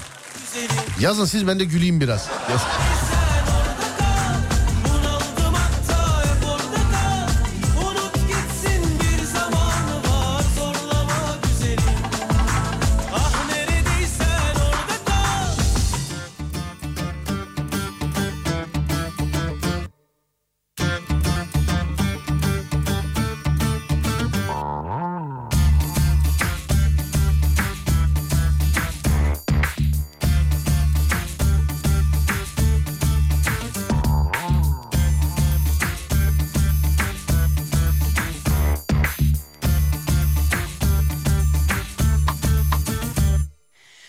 Yazın siz ben de güleyim biraz. Yaz-
Bunaldım hatta hep orada kal Unut gitsin bir zamanı var Zorlama güzelim Ah neredeysen orada kal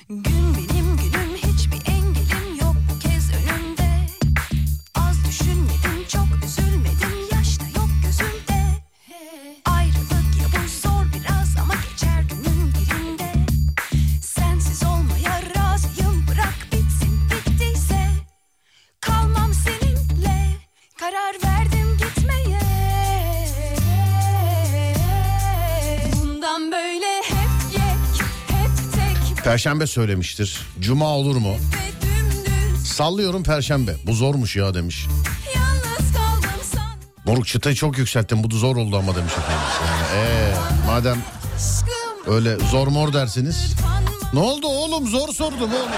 Gün benim günüm hiçbir engelim yok bu kez önümde Az düşünmedim çok üzülmedim yaşta yok gözümde Ayrılık ya bu zor biraz ama geçer günün birinde Sensiz olmaya razıyım bırak bitsin bittiyse Kalmam seninle karar verdim gitmeye Bundan böyle hep yek hep tek
Perşembe söylemiştir. Cuma olur mu?
ve dümdüz
Sallıyorum perşembe. Bu zormuş ya demiş.
yalnız kaldım san
Moruk çıtayı çok yükselttin bu da zor oldu ama demiş efendim. Yani, ee, madem
aşkım
öyle zor mor dersiniz.
kanma
Ne oldu oğlum zor sordum oğlum.
belalım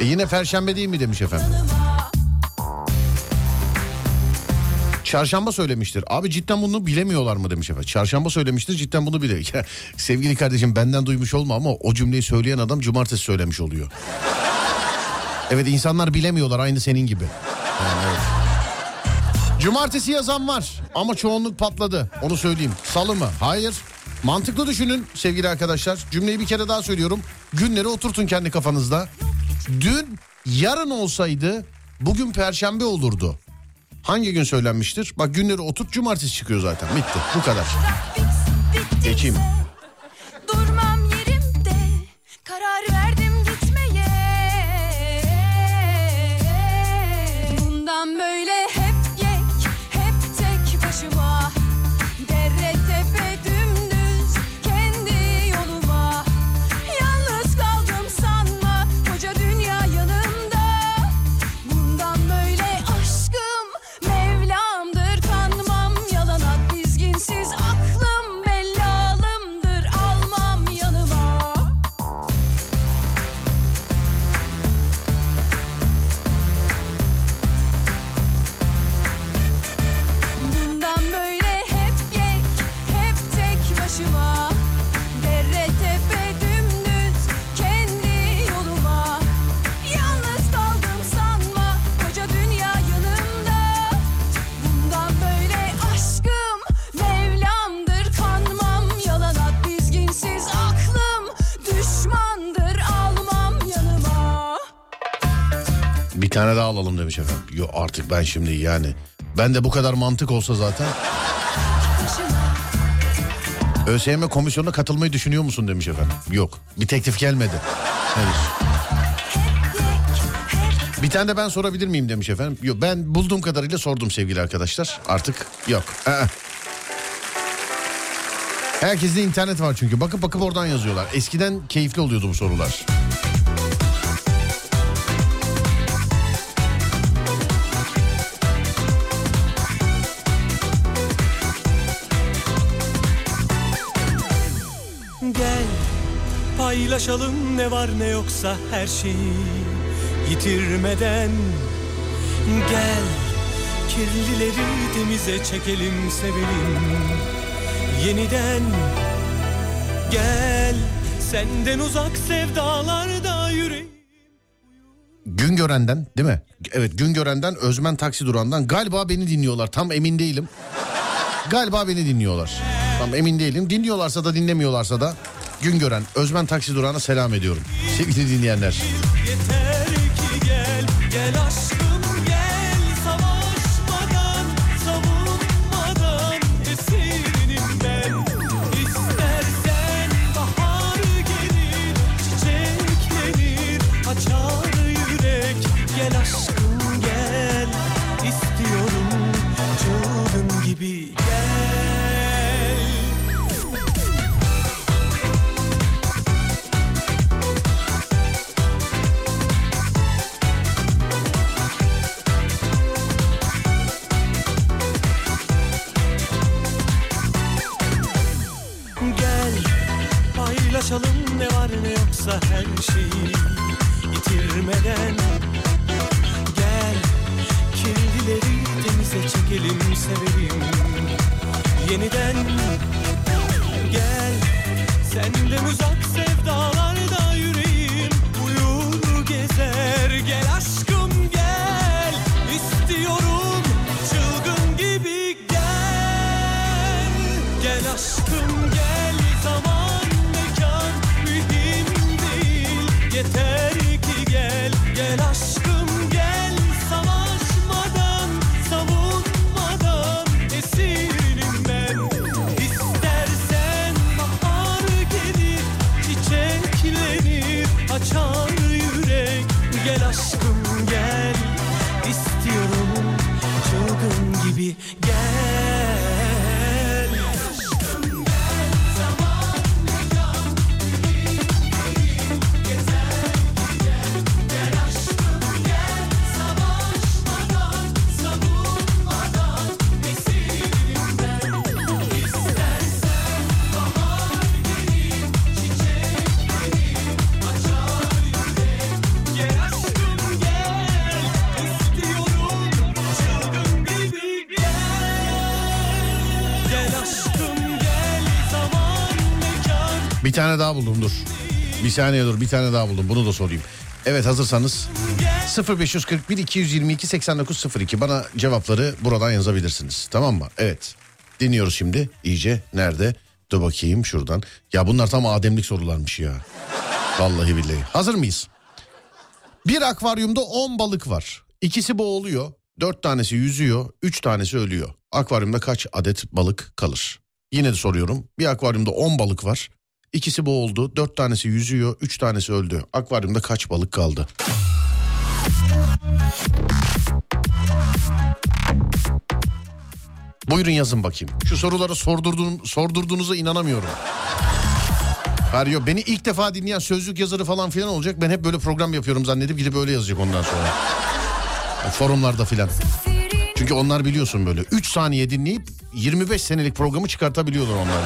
E yine perşembe değil mi demiş efendim. Çarşamba söylemiştir. Abi cidden bunu bilemiyorlar mı demiş efendim. Çarşamba söylemiştir cidden bunu bile. Ya, Sevgili kardeşim benden duymuş olma ama o cümleyi söyleyen adam cumartesi söylemiş oluyor. Evet insanlar bilemiyorlar aynı senin gibi. Yani evet. Cumartesi yazan var ama çoğunluk patladı. Onu söyleyeyim. Salı mı? Hayır. Mantıklı düşünün sevgili arkadaşlar. Cümleyi bir kere daha söylüyorum. Günleri oturtun kendi kafanızda. Dün yarın olsaydı bugün perşembe olurdu. Hangi gün söylenmiştir? Bak günleri oturt cumartesi çıkıyor zaten. Bitti bu kadar. Geçeyim.
durmam yerimde karar verdim gitmeye bundan böyle hep yek hep tek başıma dere tepe dümdüz kendi yoluma yalnız kaldım sanma koca dünya yanımda bundan böyle aşkım Mevlam'dır kanmam yalana dizginsiz aklım belalımdır almam yanıma Bundan böyle hep yek hep tek başıma dere tepe dümdüz kendi yoluma Yalnız kaldım sanma koca dünya yanımda Bundan böyle aşkım Mevlam'dır kanmam Yalana dizginsiz aklım Düşmandır almam yanıma
Bir tane daha alalım demiş efendim. Yo artık ben şimdi yani. Ben de bu kadar mantık olsa zaten.
Başıma
ÖSYM komisyonuna katılmayı düşünüyor musun demiş efendim. Yok. Bir teklif gelmedi. Henüz.
yek hep
Bir tane de ben sorabilir miyim demiş efendim. Yok ben bulduğum kadarıyla sordum sevgili arkadaşlar. Artık yok. Aa. Herkeste internet var çünkü. Bakıp bakıp oradan yazıyorlar. Eskiden keyifli oluyordu bu sorular.
Gel paylaşalım ne var ne yoksa her şeyi yitirmeden Gel kirlileri temize çekelim sevelim yeniden Gel senden uzak sevdalarda yüreğim
Güngören'den değil mi? Evet Güngören'den Özmen Taksi Duran'dan galiba beni dinliyorlar tam emin değilim. galiba beni dinliyorlar. Tam emin değilim. Dinliyorlarsa da dinlemiyorlarsa da Güngören Özmen Taksi Durağı'na selam ediyorum. Sevgili dinleyenler.
Yeter ki gel, gel aşkım gel Savaşmadan, savunmadan esirim ben İstersen bahar gelir, çiçeklenir Açar yürek, gel aşkım gel İstiyorum çılgın gibi gel şey. Gel paylaşalım ne var ne yoksa her şeyi yitirmeden Gel kirlileri temize çekelim sevelim yeniden Gel senden uzak sevdalarda yüreğim uyur gezer Gel aşkım gel istiyorum çılgın gibi gel Gel aşkım gel zaman mekan mühim değil Yeter ki gel gel aşkım gel Savaşmadan savunmadan esirim ben İstersen bahar gelir çiçeklenir Açar yürek gel aşkım gel İstiyorum çılgın gibi gel Gel aşkım gel zaman mekan
Bir tane daha buldum dur. Bir saniye dur bir tane daha buldum bunu da sorayım. Evet hazırsanız 0541 222 8902 bana cevapları buradan yazabilirsiniz. Tamam mı? Evet. Dinliyoruz şimdi. İyice nerede? Dur bakayım şuradan. Ya bunlar tam ademlik sorularmış ya. Vallahi billahi. Hazır mıyız? Bir akvaryumda 10 balık var. İkisi boğuluyor. 4 tanesi yüzüyor. 3 tanesi ölüyor. Akvaryumda kaç adet balık kalır? Yine de soruyorum. Bir akvaryumda 10 balık var. İkisi boğuldu. 4 tanesi yüzüyor. 3 tanesi öldü. Akvaryumda kaç balık kaldı? Buyurun yazın bakayım. Şu soruları sordurduğum, sordurduğunuza inanamıyorum. Feryo beni ilk defa dinleyen sözlük yazarı falan filan olacak. Ben hep böyle program yapıyorum zannedip gidip öyle yazacak ondan sonra. Forumlarda filan. Çünkü onlar biliyorsun böyle 3 saniye dinleyip 25 senelik programı çıkartabiliyorlar onlar için.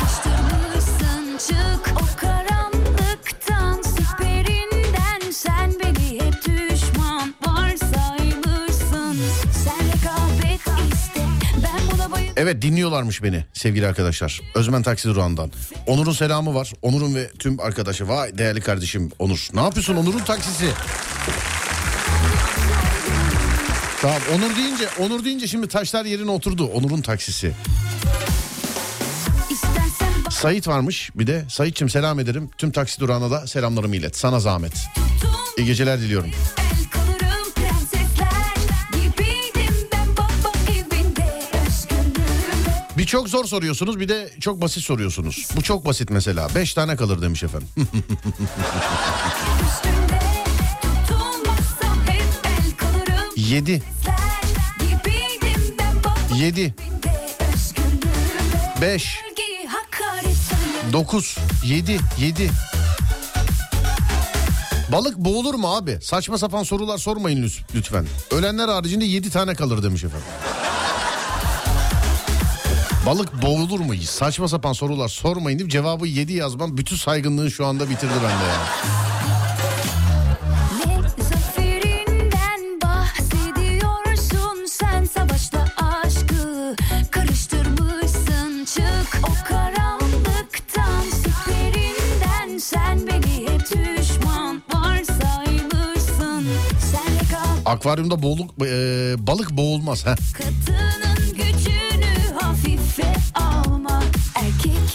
Kaçtırmalısın çık o karanlıktan Süperinden sen beni hep düşman var saymışsın Sen rekabet iste ben buna bayılıyorum
Evet dinliyorlarmış beni sevgili arkadaşlar. Özmen Taksi Durağı'ndan. Onur'un selamı var. Onur'un ve tüm arkadaşı. Vay değerli kardeşim Onur. Ne yapıyorsun Onur'un taksisi? Tamam Onur deyince Onur deyince şimdi taşlar yerine oturdu. Onur'un taksisi.
İstersen
Sait varmış bir de. Sait'cim selam ederim. Tüm taksi durağına da selamlarımı ilet. Sana zahmet.
baktım
İyi geceler diliyorum.
el kalırım prensesler Gibiydim ben baba evinde Aşkınlığım
Bir çok zor soruyorsunuz bir de çok basit soruyorsunuz. Bu çok basit mesela. Beş tane kalır demiş efendim.
üstünde Tutulmazsam hep el kalırım
Yedi.
prensesler Gibiydim ben baba
Yedi.
evinde Aşkınlığım
Beş.
Sevgiyi hakaret sanıyorum
9, 7, 7. Balık boğulur mu abi? Saçma sapan sorular sormayın lüs- lütfen. Ölenler haricinde 7 tane kalır demiş efendim. Balık boğulur mu? Saçma sapan sorular sormayın deyip cevabı 7 yazmam bütün saygınlığı şu anda bitirdi bende ya.
Ne zaferinden bahsediyorsun sen savaşta aşkı karıştırmışsın çık o karanlıktan sütlerinden sen beni hep düşman varsaymışsın sen rekabet
Akvaryumda boğuluk, e, balık boğulmaz. Heh.
katının gücünü hafife alma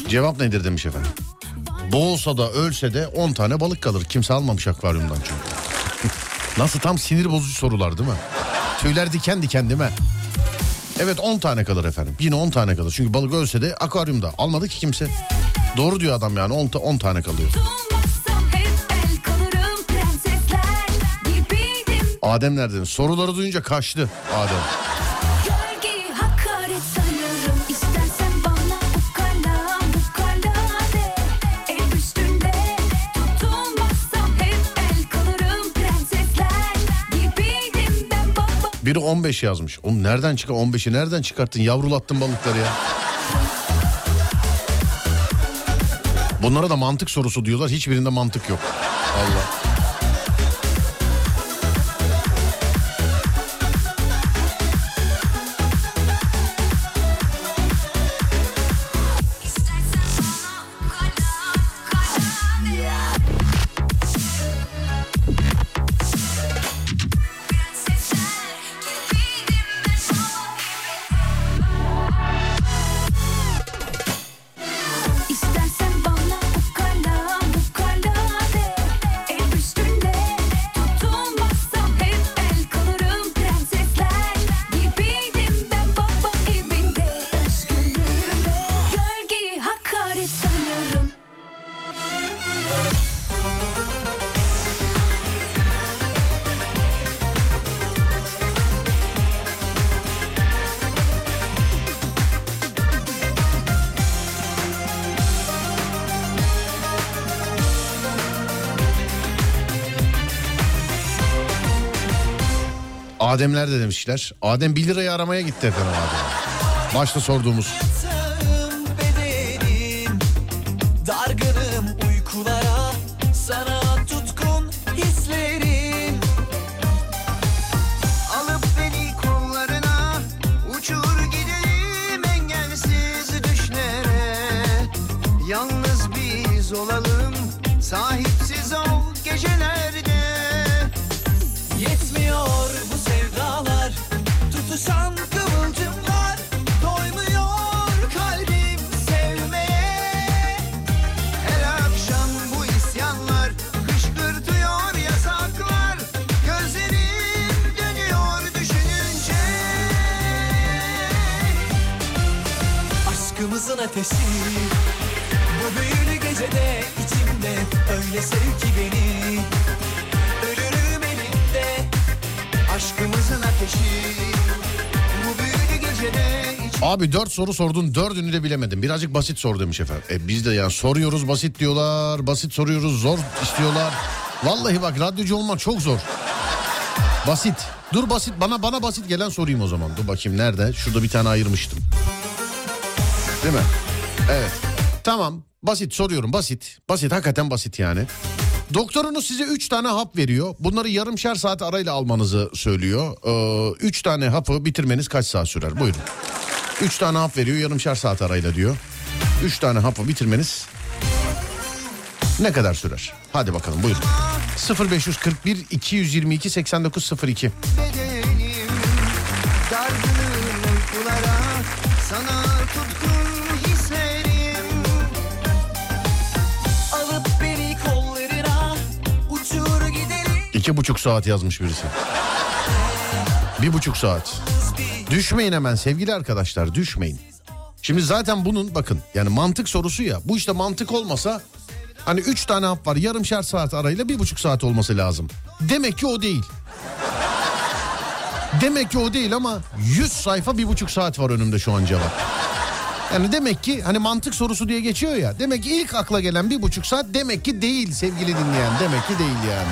Cevap nedir demiş efendim. Boğulsa da ölse de 10 tane balık kalır. Kimse almamış akvaryumdan çünkü. Nasıl tam sinir bozucu sorular değil mi? Tüyler diken diken değil mi? Evet 10 tane kalır efendim. Yine 10 tane kalır. Çünkü balık ölse de akvaryumda almadı ki kimse. Doğru diyor adam yani 10 ta- 10 tane kalıyor.
Tutunmazsam hep el kalırım prensesler gibiydim
Adem nereden? Soruları duyunca kaçtı Adem.
Gölgeyi hakaret sanırım İstersen bana ukala ukala de El üstünde tutulmazsam hep el kalırım Prensesler gibiydim ben baba
Biri 15 yazmış. Oğlum nereden çıkar 15'i nereden çıkarttın? Yavrulattın balıkları ya. Bunlara da mantık sorusu diyorlar. Hiçbirinde mantık yok. Allah.
İstersen bana ukala ukala de Prensesler gibiydim ben İstersen bana ukala ukala de El üstünde tutulmazsam hep el kalırım Prensesler gibiydim ben baba evinde Özgürlüğümde gölgeyi hakaret sanırım
Adem nerede demişler? Adem 1 lirayı aramaya gitti efendim Adem. Başta sorduğumuz.
Yatağım bedenin Dargınım uykulara Sana tutkun hislerin Alıp beni kollarına Uçur gidelim engelsiz düşlere Yalnız biz olalım Sahipsiz ol gecelerde Yetmiyor bu sevdalar Tutuşan kıvılcımlar Doymuyor kalbim sevmeye Her akşam bu isyanlar Kışkırtıyor yasaklar Gözlerim dönüyor düşününce Aşkımızın ateşi Bu büyülü gecede içimde Öyle sev ki beni Ölürüm elinde Aşkımızın ateşi Bu büyülü gecede içimde
Abi 4 soru sordun 4'ünü de bilemedim. Birazcık basit sor demiş efendim. E biz de yani soruyoruz basit diyorlar. Basit soruyoruz zor istiyorlar. Vallahi bak radyocu olmak çok zor. Basit. Dur basit bana bana basit gelen sorayım o zaman. Dur bakayım nerede? Şurada bir tane ayırmıştım. Değil mi? Evet. Tamam. Basit soruyorum basit. Basit hakikaten basit yani. Doktorunuz size 3 tane hap veriyor. Bunları yarımşar saat arayla almanızı söylüyor. 3 tane hapı bitirmeniz kaç saat sürer? Buyurun. 3 tane hap veriyor yarımşar saat arayla diyor. 3 tane hapı bitirmeniz ne kadar sürer? Hadi bakalım buyurun. 0541 222 8902
bedenim Dargınım uykulara Sana tutkun hislerim Alıp beni kollarına Uçur gidelim
İki buçuk saat yazmış birisi. Bir buçuk saat. Düşmeyin hemen sevgili arkadaşlar düşmeyin. Şimdi zaten bunun bakın yani mantık sorusu ya. Bu işte mantık olmasa hani üç tane hap var yarımşar saat arayla bir buçuk saat olması lazım. Demek ki o değil. Demek ki o değil ama 100 sayfa bir buçuk saat var önümde şu an cevap. Yani demek ki hani mantık sorusu diye geçiyor ya. Demek ki ilk akla gelen bir buçuk saat demek ki değil sevgili dinleyen. Demek ki değil yani.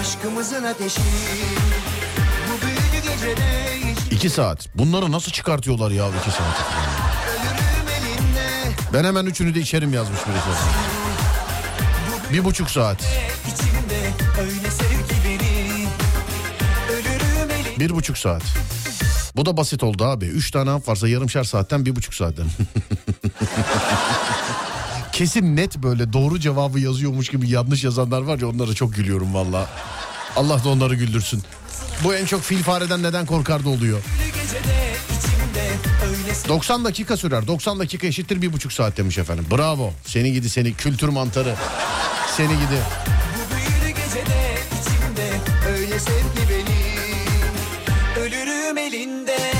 Aşkımızın ateşi Bu büyülü gecede hiç
İki saat. Bunları nasıl çıkartıyorlar ya iki saat?
ölürüm elinde
Ben hemen üçünü de içerim yazmış birisi. Bir buçuk saat.
içimde Öyle sev ki beni Ölürüm elinde
Bir buçuk saat. Bu da basit oldu abi. Üç tane hap varsa yarımşar saatten bir buçuk saatten. Kesin net böyle doğru cevabı yazıyormuş gibi yanlış yazanlar var ya onlara çok gülüyorum valla. Allah da onları güldürsün. Bu en çok fil fareden neden korkardı oluyor.
gecede içimde Öyle
90 dakika sürer. 90 dakika eşittir bir buçuk saat demiş efendim. Bravo. Seni gidi seni kültür mantarı. Seni gidi.
Bu büyülü gecede içimde öyle sevgi beni Ölürüm elinde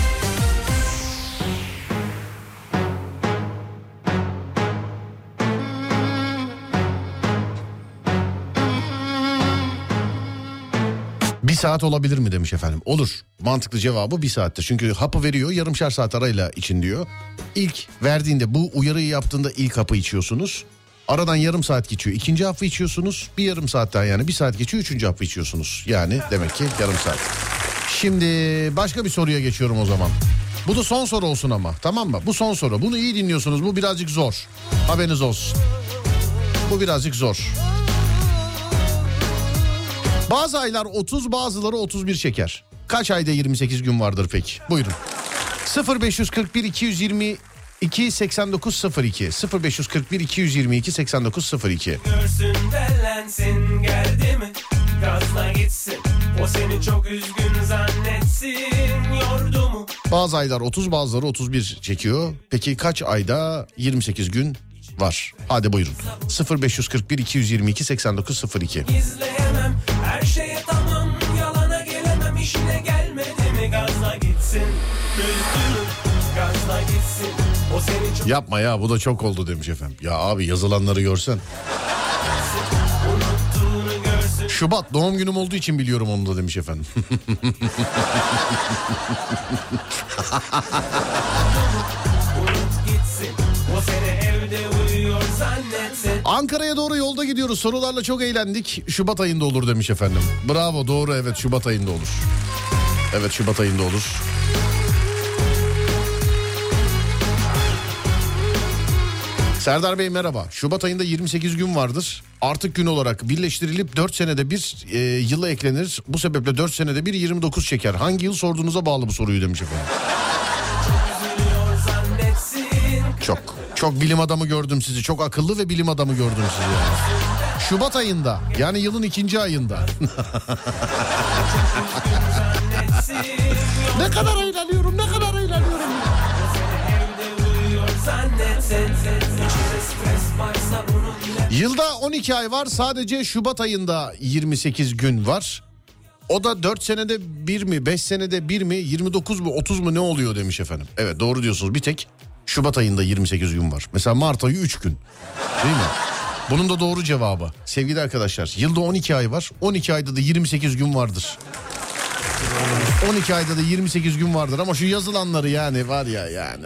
Bir saat olabilir mi demiş efendim. Olur. Mantıklı cevabı bir saatte. Çünkü hapı veriyor yarımşar saat arayla için diyor. İlk verdiğinde bu uyarıyı yaptığında ilk hapı içiyorsunuz. Aradan yarım saat geçiyor. ikinci hapı içiyorsunuz. Bir yarım saat daha yani bir saat geçiyor. Üçüncü hapı içiyorsunuz. Yani demek ki yarım saat. Şimdi başka bir soruya geçiyorum o zaman. Bu da son soru olsun ama tamam mı? Bu son soru. Bunu iyi dinliyorsunuz. Bu birazcık zor. Haberiniz olsun. Bu birazcık zor. Bazı aylar 30 bazıları 31 şeker. Kaç ayda 28 gün vardır peki? Buyurun. 0541 220 28902 0541 222 8902
görsün derlensin geldi mi gazla gitsin o seni çok üzgün zannetsin yordu mu
Bazı aylar 30 bazıları 31 çekiyor. Peki kaç ayda 28 gün var? Hadi buyurun. 0541 222 8902
izleyemem her şeye tamam yalana gelemem işine gelmedi mi gazla gitsin üzdürür gazla gitsin o seni çok
Yapma ya bu da çok oldu demiş efendim. Ya abi yazılanları görsen.
unuttuğunu görsün
Şubat doğum günüm olduğu için biliyorum onu da demiş efendim.
unut gitsin o seni evde uyuyor zannetsin
Ankara'ya doğru yolda gidiyoruz. Sorularla çok eğlendik. Şubat ayında olur demiş efendim. Bravo doğru evet Şubat ayında olur. Evet Şubat ayında olur. Serdar Bey merhaba. Şubat ayında 28 gün vardır. Artık gün olarak birleştirilip 4 senede bir e, yıla eklenir. Bu sebeple 4 senede bir 29 çeker. Hangi yıl sorduğunuza bağlı bu soruyu demiş efendim. Çok. Çok bilim adamı gördüm sizi. Çok akıllı ve bilim adamı gördüm sizi. yani. Şubat ayında yani yılın ikinci ayında. ne kadar eğleniyorum ne kadar eğleniyorum. Yılda 12 ay var sadece Şubat ayında 28 gün var. O da 4 senede bir mi 5 senede bir mi 29 mu 30 mu ne oluyor demiş efendim. Evet doğru diyorsunuz bir tek Şubat ayında 28 gün var. Mesela Mart ayı 3 gün değil mi? Bunun da doğru cevabı sevgili arkadaşlar yılda 12 ay var 12 ayda da 28 gün vardır. 12 ayda da 28 gün vardır ama şu yazılanları yani var ya yani.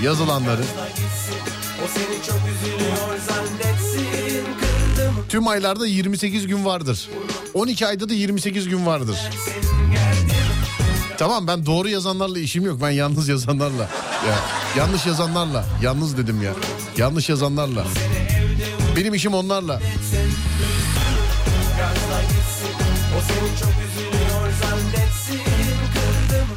Şu yazılanları.
o seni çok üzülüyor zannetsin kırdı mı
Tüm aylarda 28 gün vardır. 12 ayda da 28 gün vardır. Tamam ben doğru yazanlarla işim yok. Ben yalnız yazanlarla. Ya, yanlış yazanlarla. Yalnız dedim ya. Yanlış yazanlarla. Benim işim onlarla.
gazla gitsin o seni çok üzülüyor zannetsin kırdı mı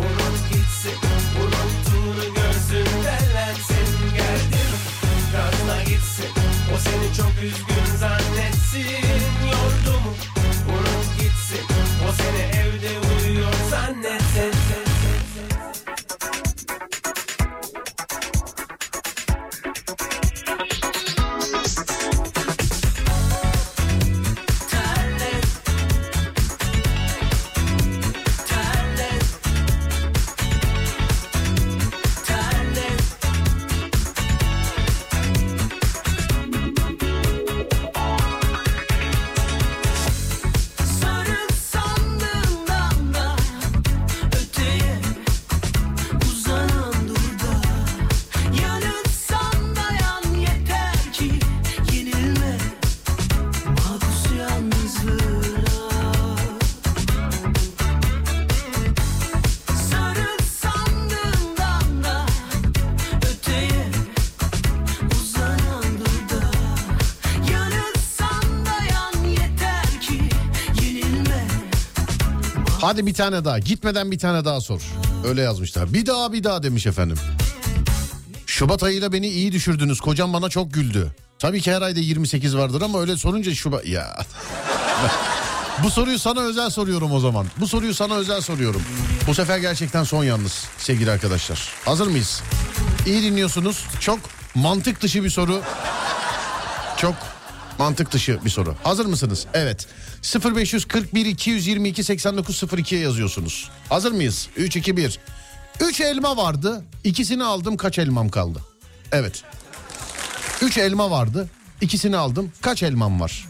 unut gitsin unuttuğunu görsün derlensin geldi mi gazla gitsin o seni çok üzgün zannetsin yordu mu unut gitsin o seni evde uyuyor zannetsin
Sarıl sandığımdan da öteye uzanan durda Yanıtsan dayan yeter ki yenilme mahpus yalnızlığına Sarıl sandığımdan da öteye uzanan durda Yanıtsan dayan yeter ki yenilme
Hadi bir tane daha. Gitmeden bir tane daha sor. Öyle yazmışlar. Bir daha bir daha demiş efendim. Şubat ayıyla beni iyi düşürdünüz. Kocam bana çok güldü. Tabii ki her ayda 28 vardır ama öyle sorunca Şubat... Ya Bu soruyu sana özel soruyorum o zaman. Bu soruyu sana özel soruyorum. Bu sefer gerçekten son yalnız sevgili arkadaşlar. Hazır mıyız? İyi dinliyorsunuz. Çok mantık dışı bir soru. Çok mantık dışı bir soru. Hazır mısınız? Evet. 0541 222 8902'ye yazıyorsunuz. Hazır mıyız? 3 2 1. 3 elma vardı. İkisini aldım. Kaç elmam kaldı? Evet. 3 elma vardı. İkisini aldım. Kaç elmam var?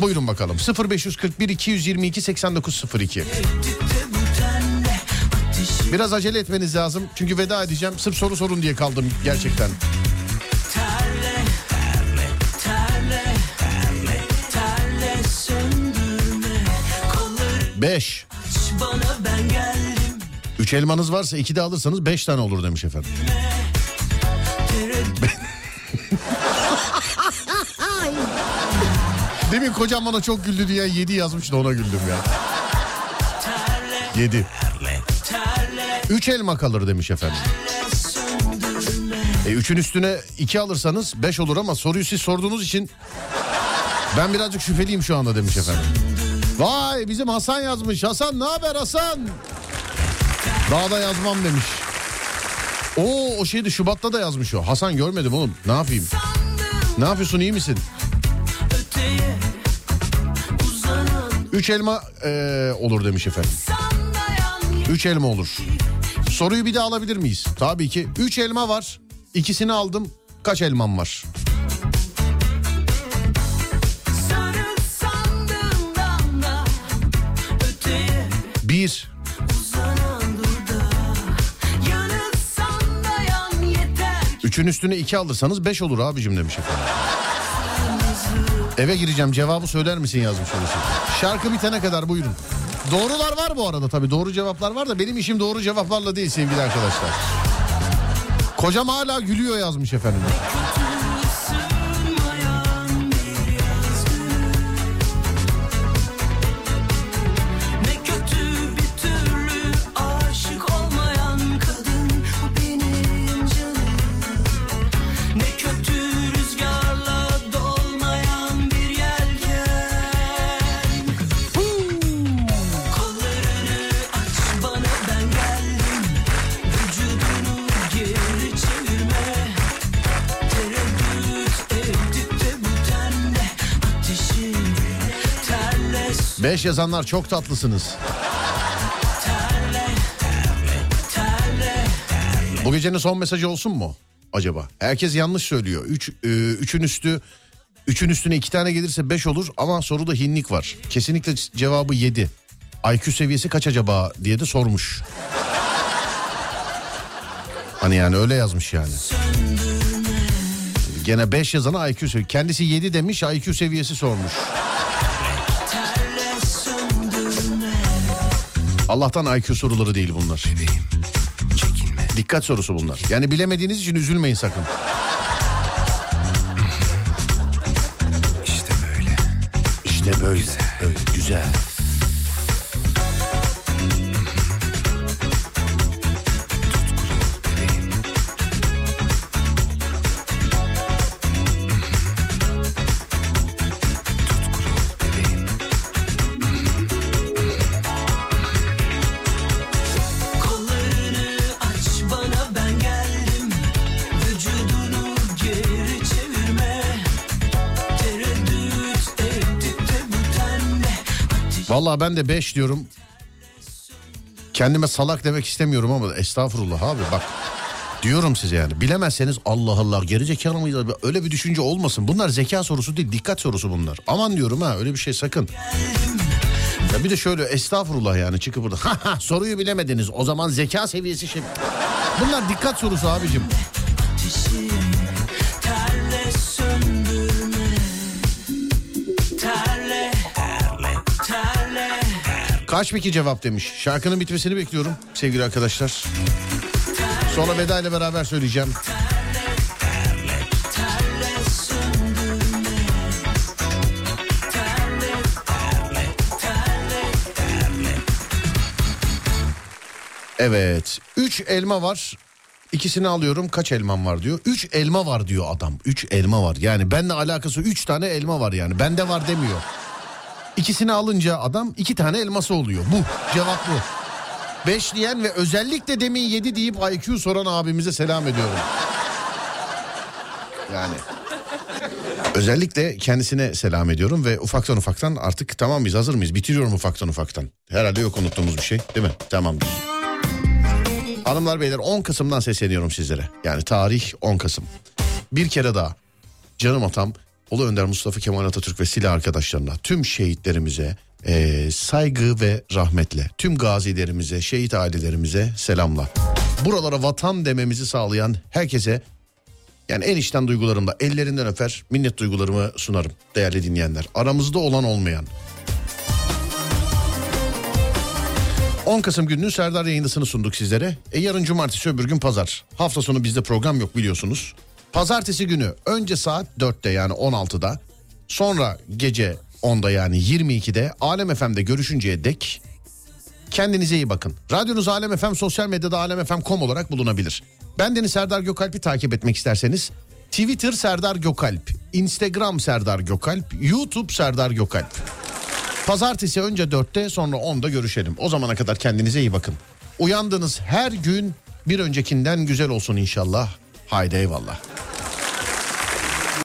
Buyurun bakalım. 0541 222 8902. Biraz acele etmeniz lazım. Çünkü veda edeceğim. Sırf soru sorun diye kaldım gerçekten. Beş. Üç elmanız varsa iki de alırsanız beş tane olur demiş efendim. Demin kocam bana çok güldü diye 7 yazmış da ona güldüm ya. 7. 3 elma kalır demiş efendim. E 3'ün üstüne 2 alırsanız 5 olur ama soruyu siz sorduğunuz için ben birazcık şüpheliyim şu anda demiş efendim. Vay bizim Hasan yazmış. Hasan ne haber Hasan? Daha da yazmam demiş. Oo o şeydi Şubat'ta da yazmış o. Hasan görmedim oğlum. Ne yapayım? Ne yapıyorsun iyi misin? Üç elma eee, olur demiş efendim. Üç elma olur. Soruyu bir daha alabilir miyiz? Tabii ki. Üç elma var. İkisini aldım. Kaç elmam var? Bir. Üçün üstüne iki alırsanız beş olur abicim demiş efendim. Eve gireceğim cevabı söyler misin yazmış olursun. Şarkı bitene kadar buyurun. Doğrular var bu arada tabii doğru cevaplar var da benim işim doğru cevaplarla değil sevgili arkadaşlar. Kocam hala gülüyor yazmış efendim.
Ne kötü bir türlü aşık olmayan kadın bu benim canım. Ne kötü rüzgarla dolmayan bir yelken. Kollarını aç bana ben geldim. Vücudunu geri çevirme. Tereddüt ettik de bu tenle ateşi terle
Beş yazanlar çok tatlısınız. Bu gecenin son mesajı olsun mu acaba? Herkes yanlış söylüyor. Üç, e, üçün üstü üçün üstüne iki tane gelirse beş olur ama soruda hinlik var. Kesinlikle cevabı yedi. IQ seviyesi kaç acaba diye de sormuş. Hani yani öyle yazmış yani. Gene 5 yazana IQ sevi- Kendisi 7 demiş IQ seviyesi sormuş. Allah'tan IQ soruları değil bunlar. Dikkat sorusu bunlar. Yani bilemediğiniz için üzülmeyin sakın.
İşte böyle.
İşte böyle. Öyle güzel.
Kollarını aç bana ben geldim Vücudunu geri çevirme Tereddüt ettik de bu tenle
Vallahi ben de 5 diyorum. Kendime salak demek istemiyorum ama estağfurullah abi bak. Diyorum size yani bilemezseniz Allah Allah geri zekalı mıyız? abi? Öyle bir düşünce olmasın. Bunlar zeka sorusu değil dikkat sorusu bunlar. Aman diyorum ha öyle bir şey sakın. Ya bir de şöyle estağfurullah yani çıkıp burada "Ha ha, soruyu bilemediniz o zaman zeka seviyesi şey. Bunlar dikkat sorusu abicim.
ateşi Terle söndürme Terle Terle
Kaç peki cevap demiş. Şarkının bitmesini bekliyorum sevgili arkadaşlar. Sonra veda ile beraber söyleyeceğim. Evet. 3 elma var. İkisini alıyorum. Kaç elmam var diyor. 3 elma var diyor adam. 3 elma var. Yani benle alakası 3 tane elma var yani. Bende var demiyor. İkisini alınca adam iki tane elması oluyor. Bu cevap bu. Beş diyen ve özellikle demin yedi deyip IQ soran abimize selam ediyorum. Yani. Özellikle kendisine selam ediyorum ve ufaktan ufaktan artık tamam mıyız hazır mıyız? Bitiriyorum ufaktan ufaktan. Herhalde yok unuttuğumuz bir şey değil mi? Tamamdır. Hanımlar beyler 10 Kasım'dan sesleniyorum sizlere. Yani tarih 10 Kasım. Bir kere daha canım atam Ulu Önder Mustafa Kemal Atatürk ve silah arkadaşlarına tüm şehitlerimize eee, saygı ve rahmetle tüm gazilerimize şehit ailelerimize selamla. Buralara vatan dememizi sağlayan herkese yani en içten duygularımla ellerinden öper minnet duygularımı sunarım değerli dinleyenler. Aramızda olan olmayan. 10 Kasım gününün Serdar yayındasını sunduk sizlere. E yarın cumartesi öbür gün pazar. Hafta sonu bizde program yok biliyorsunuz. Pazartesi günü önce saat 4'te yani 16'da sonra gece 10'da yani 22'de Alem FM'de görüşünceye dek kendinize iyi bakın. Radyonuz Alem FM sosyal medyada alemfm.com olarak bulunabilir. Ben Deniz Serdar Gökalp'i takip etmek isterseniz Twitter Serdar Gökalp, Instagram Serdar Gökalp, YouTube Serdar Gökalp. Pazartesi önce 4'te sonra 10'da görüşelim. O zamana kadar kendinize iyi bakın. Uyandığınız her gün bir öncekinden güzel olsun inşallah. Haydi eyvallah.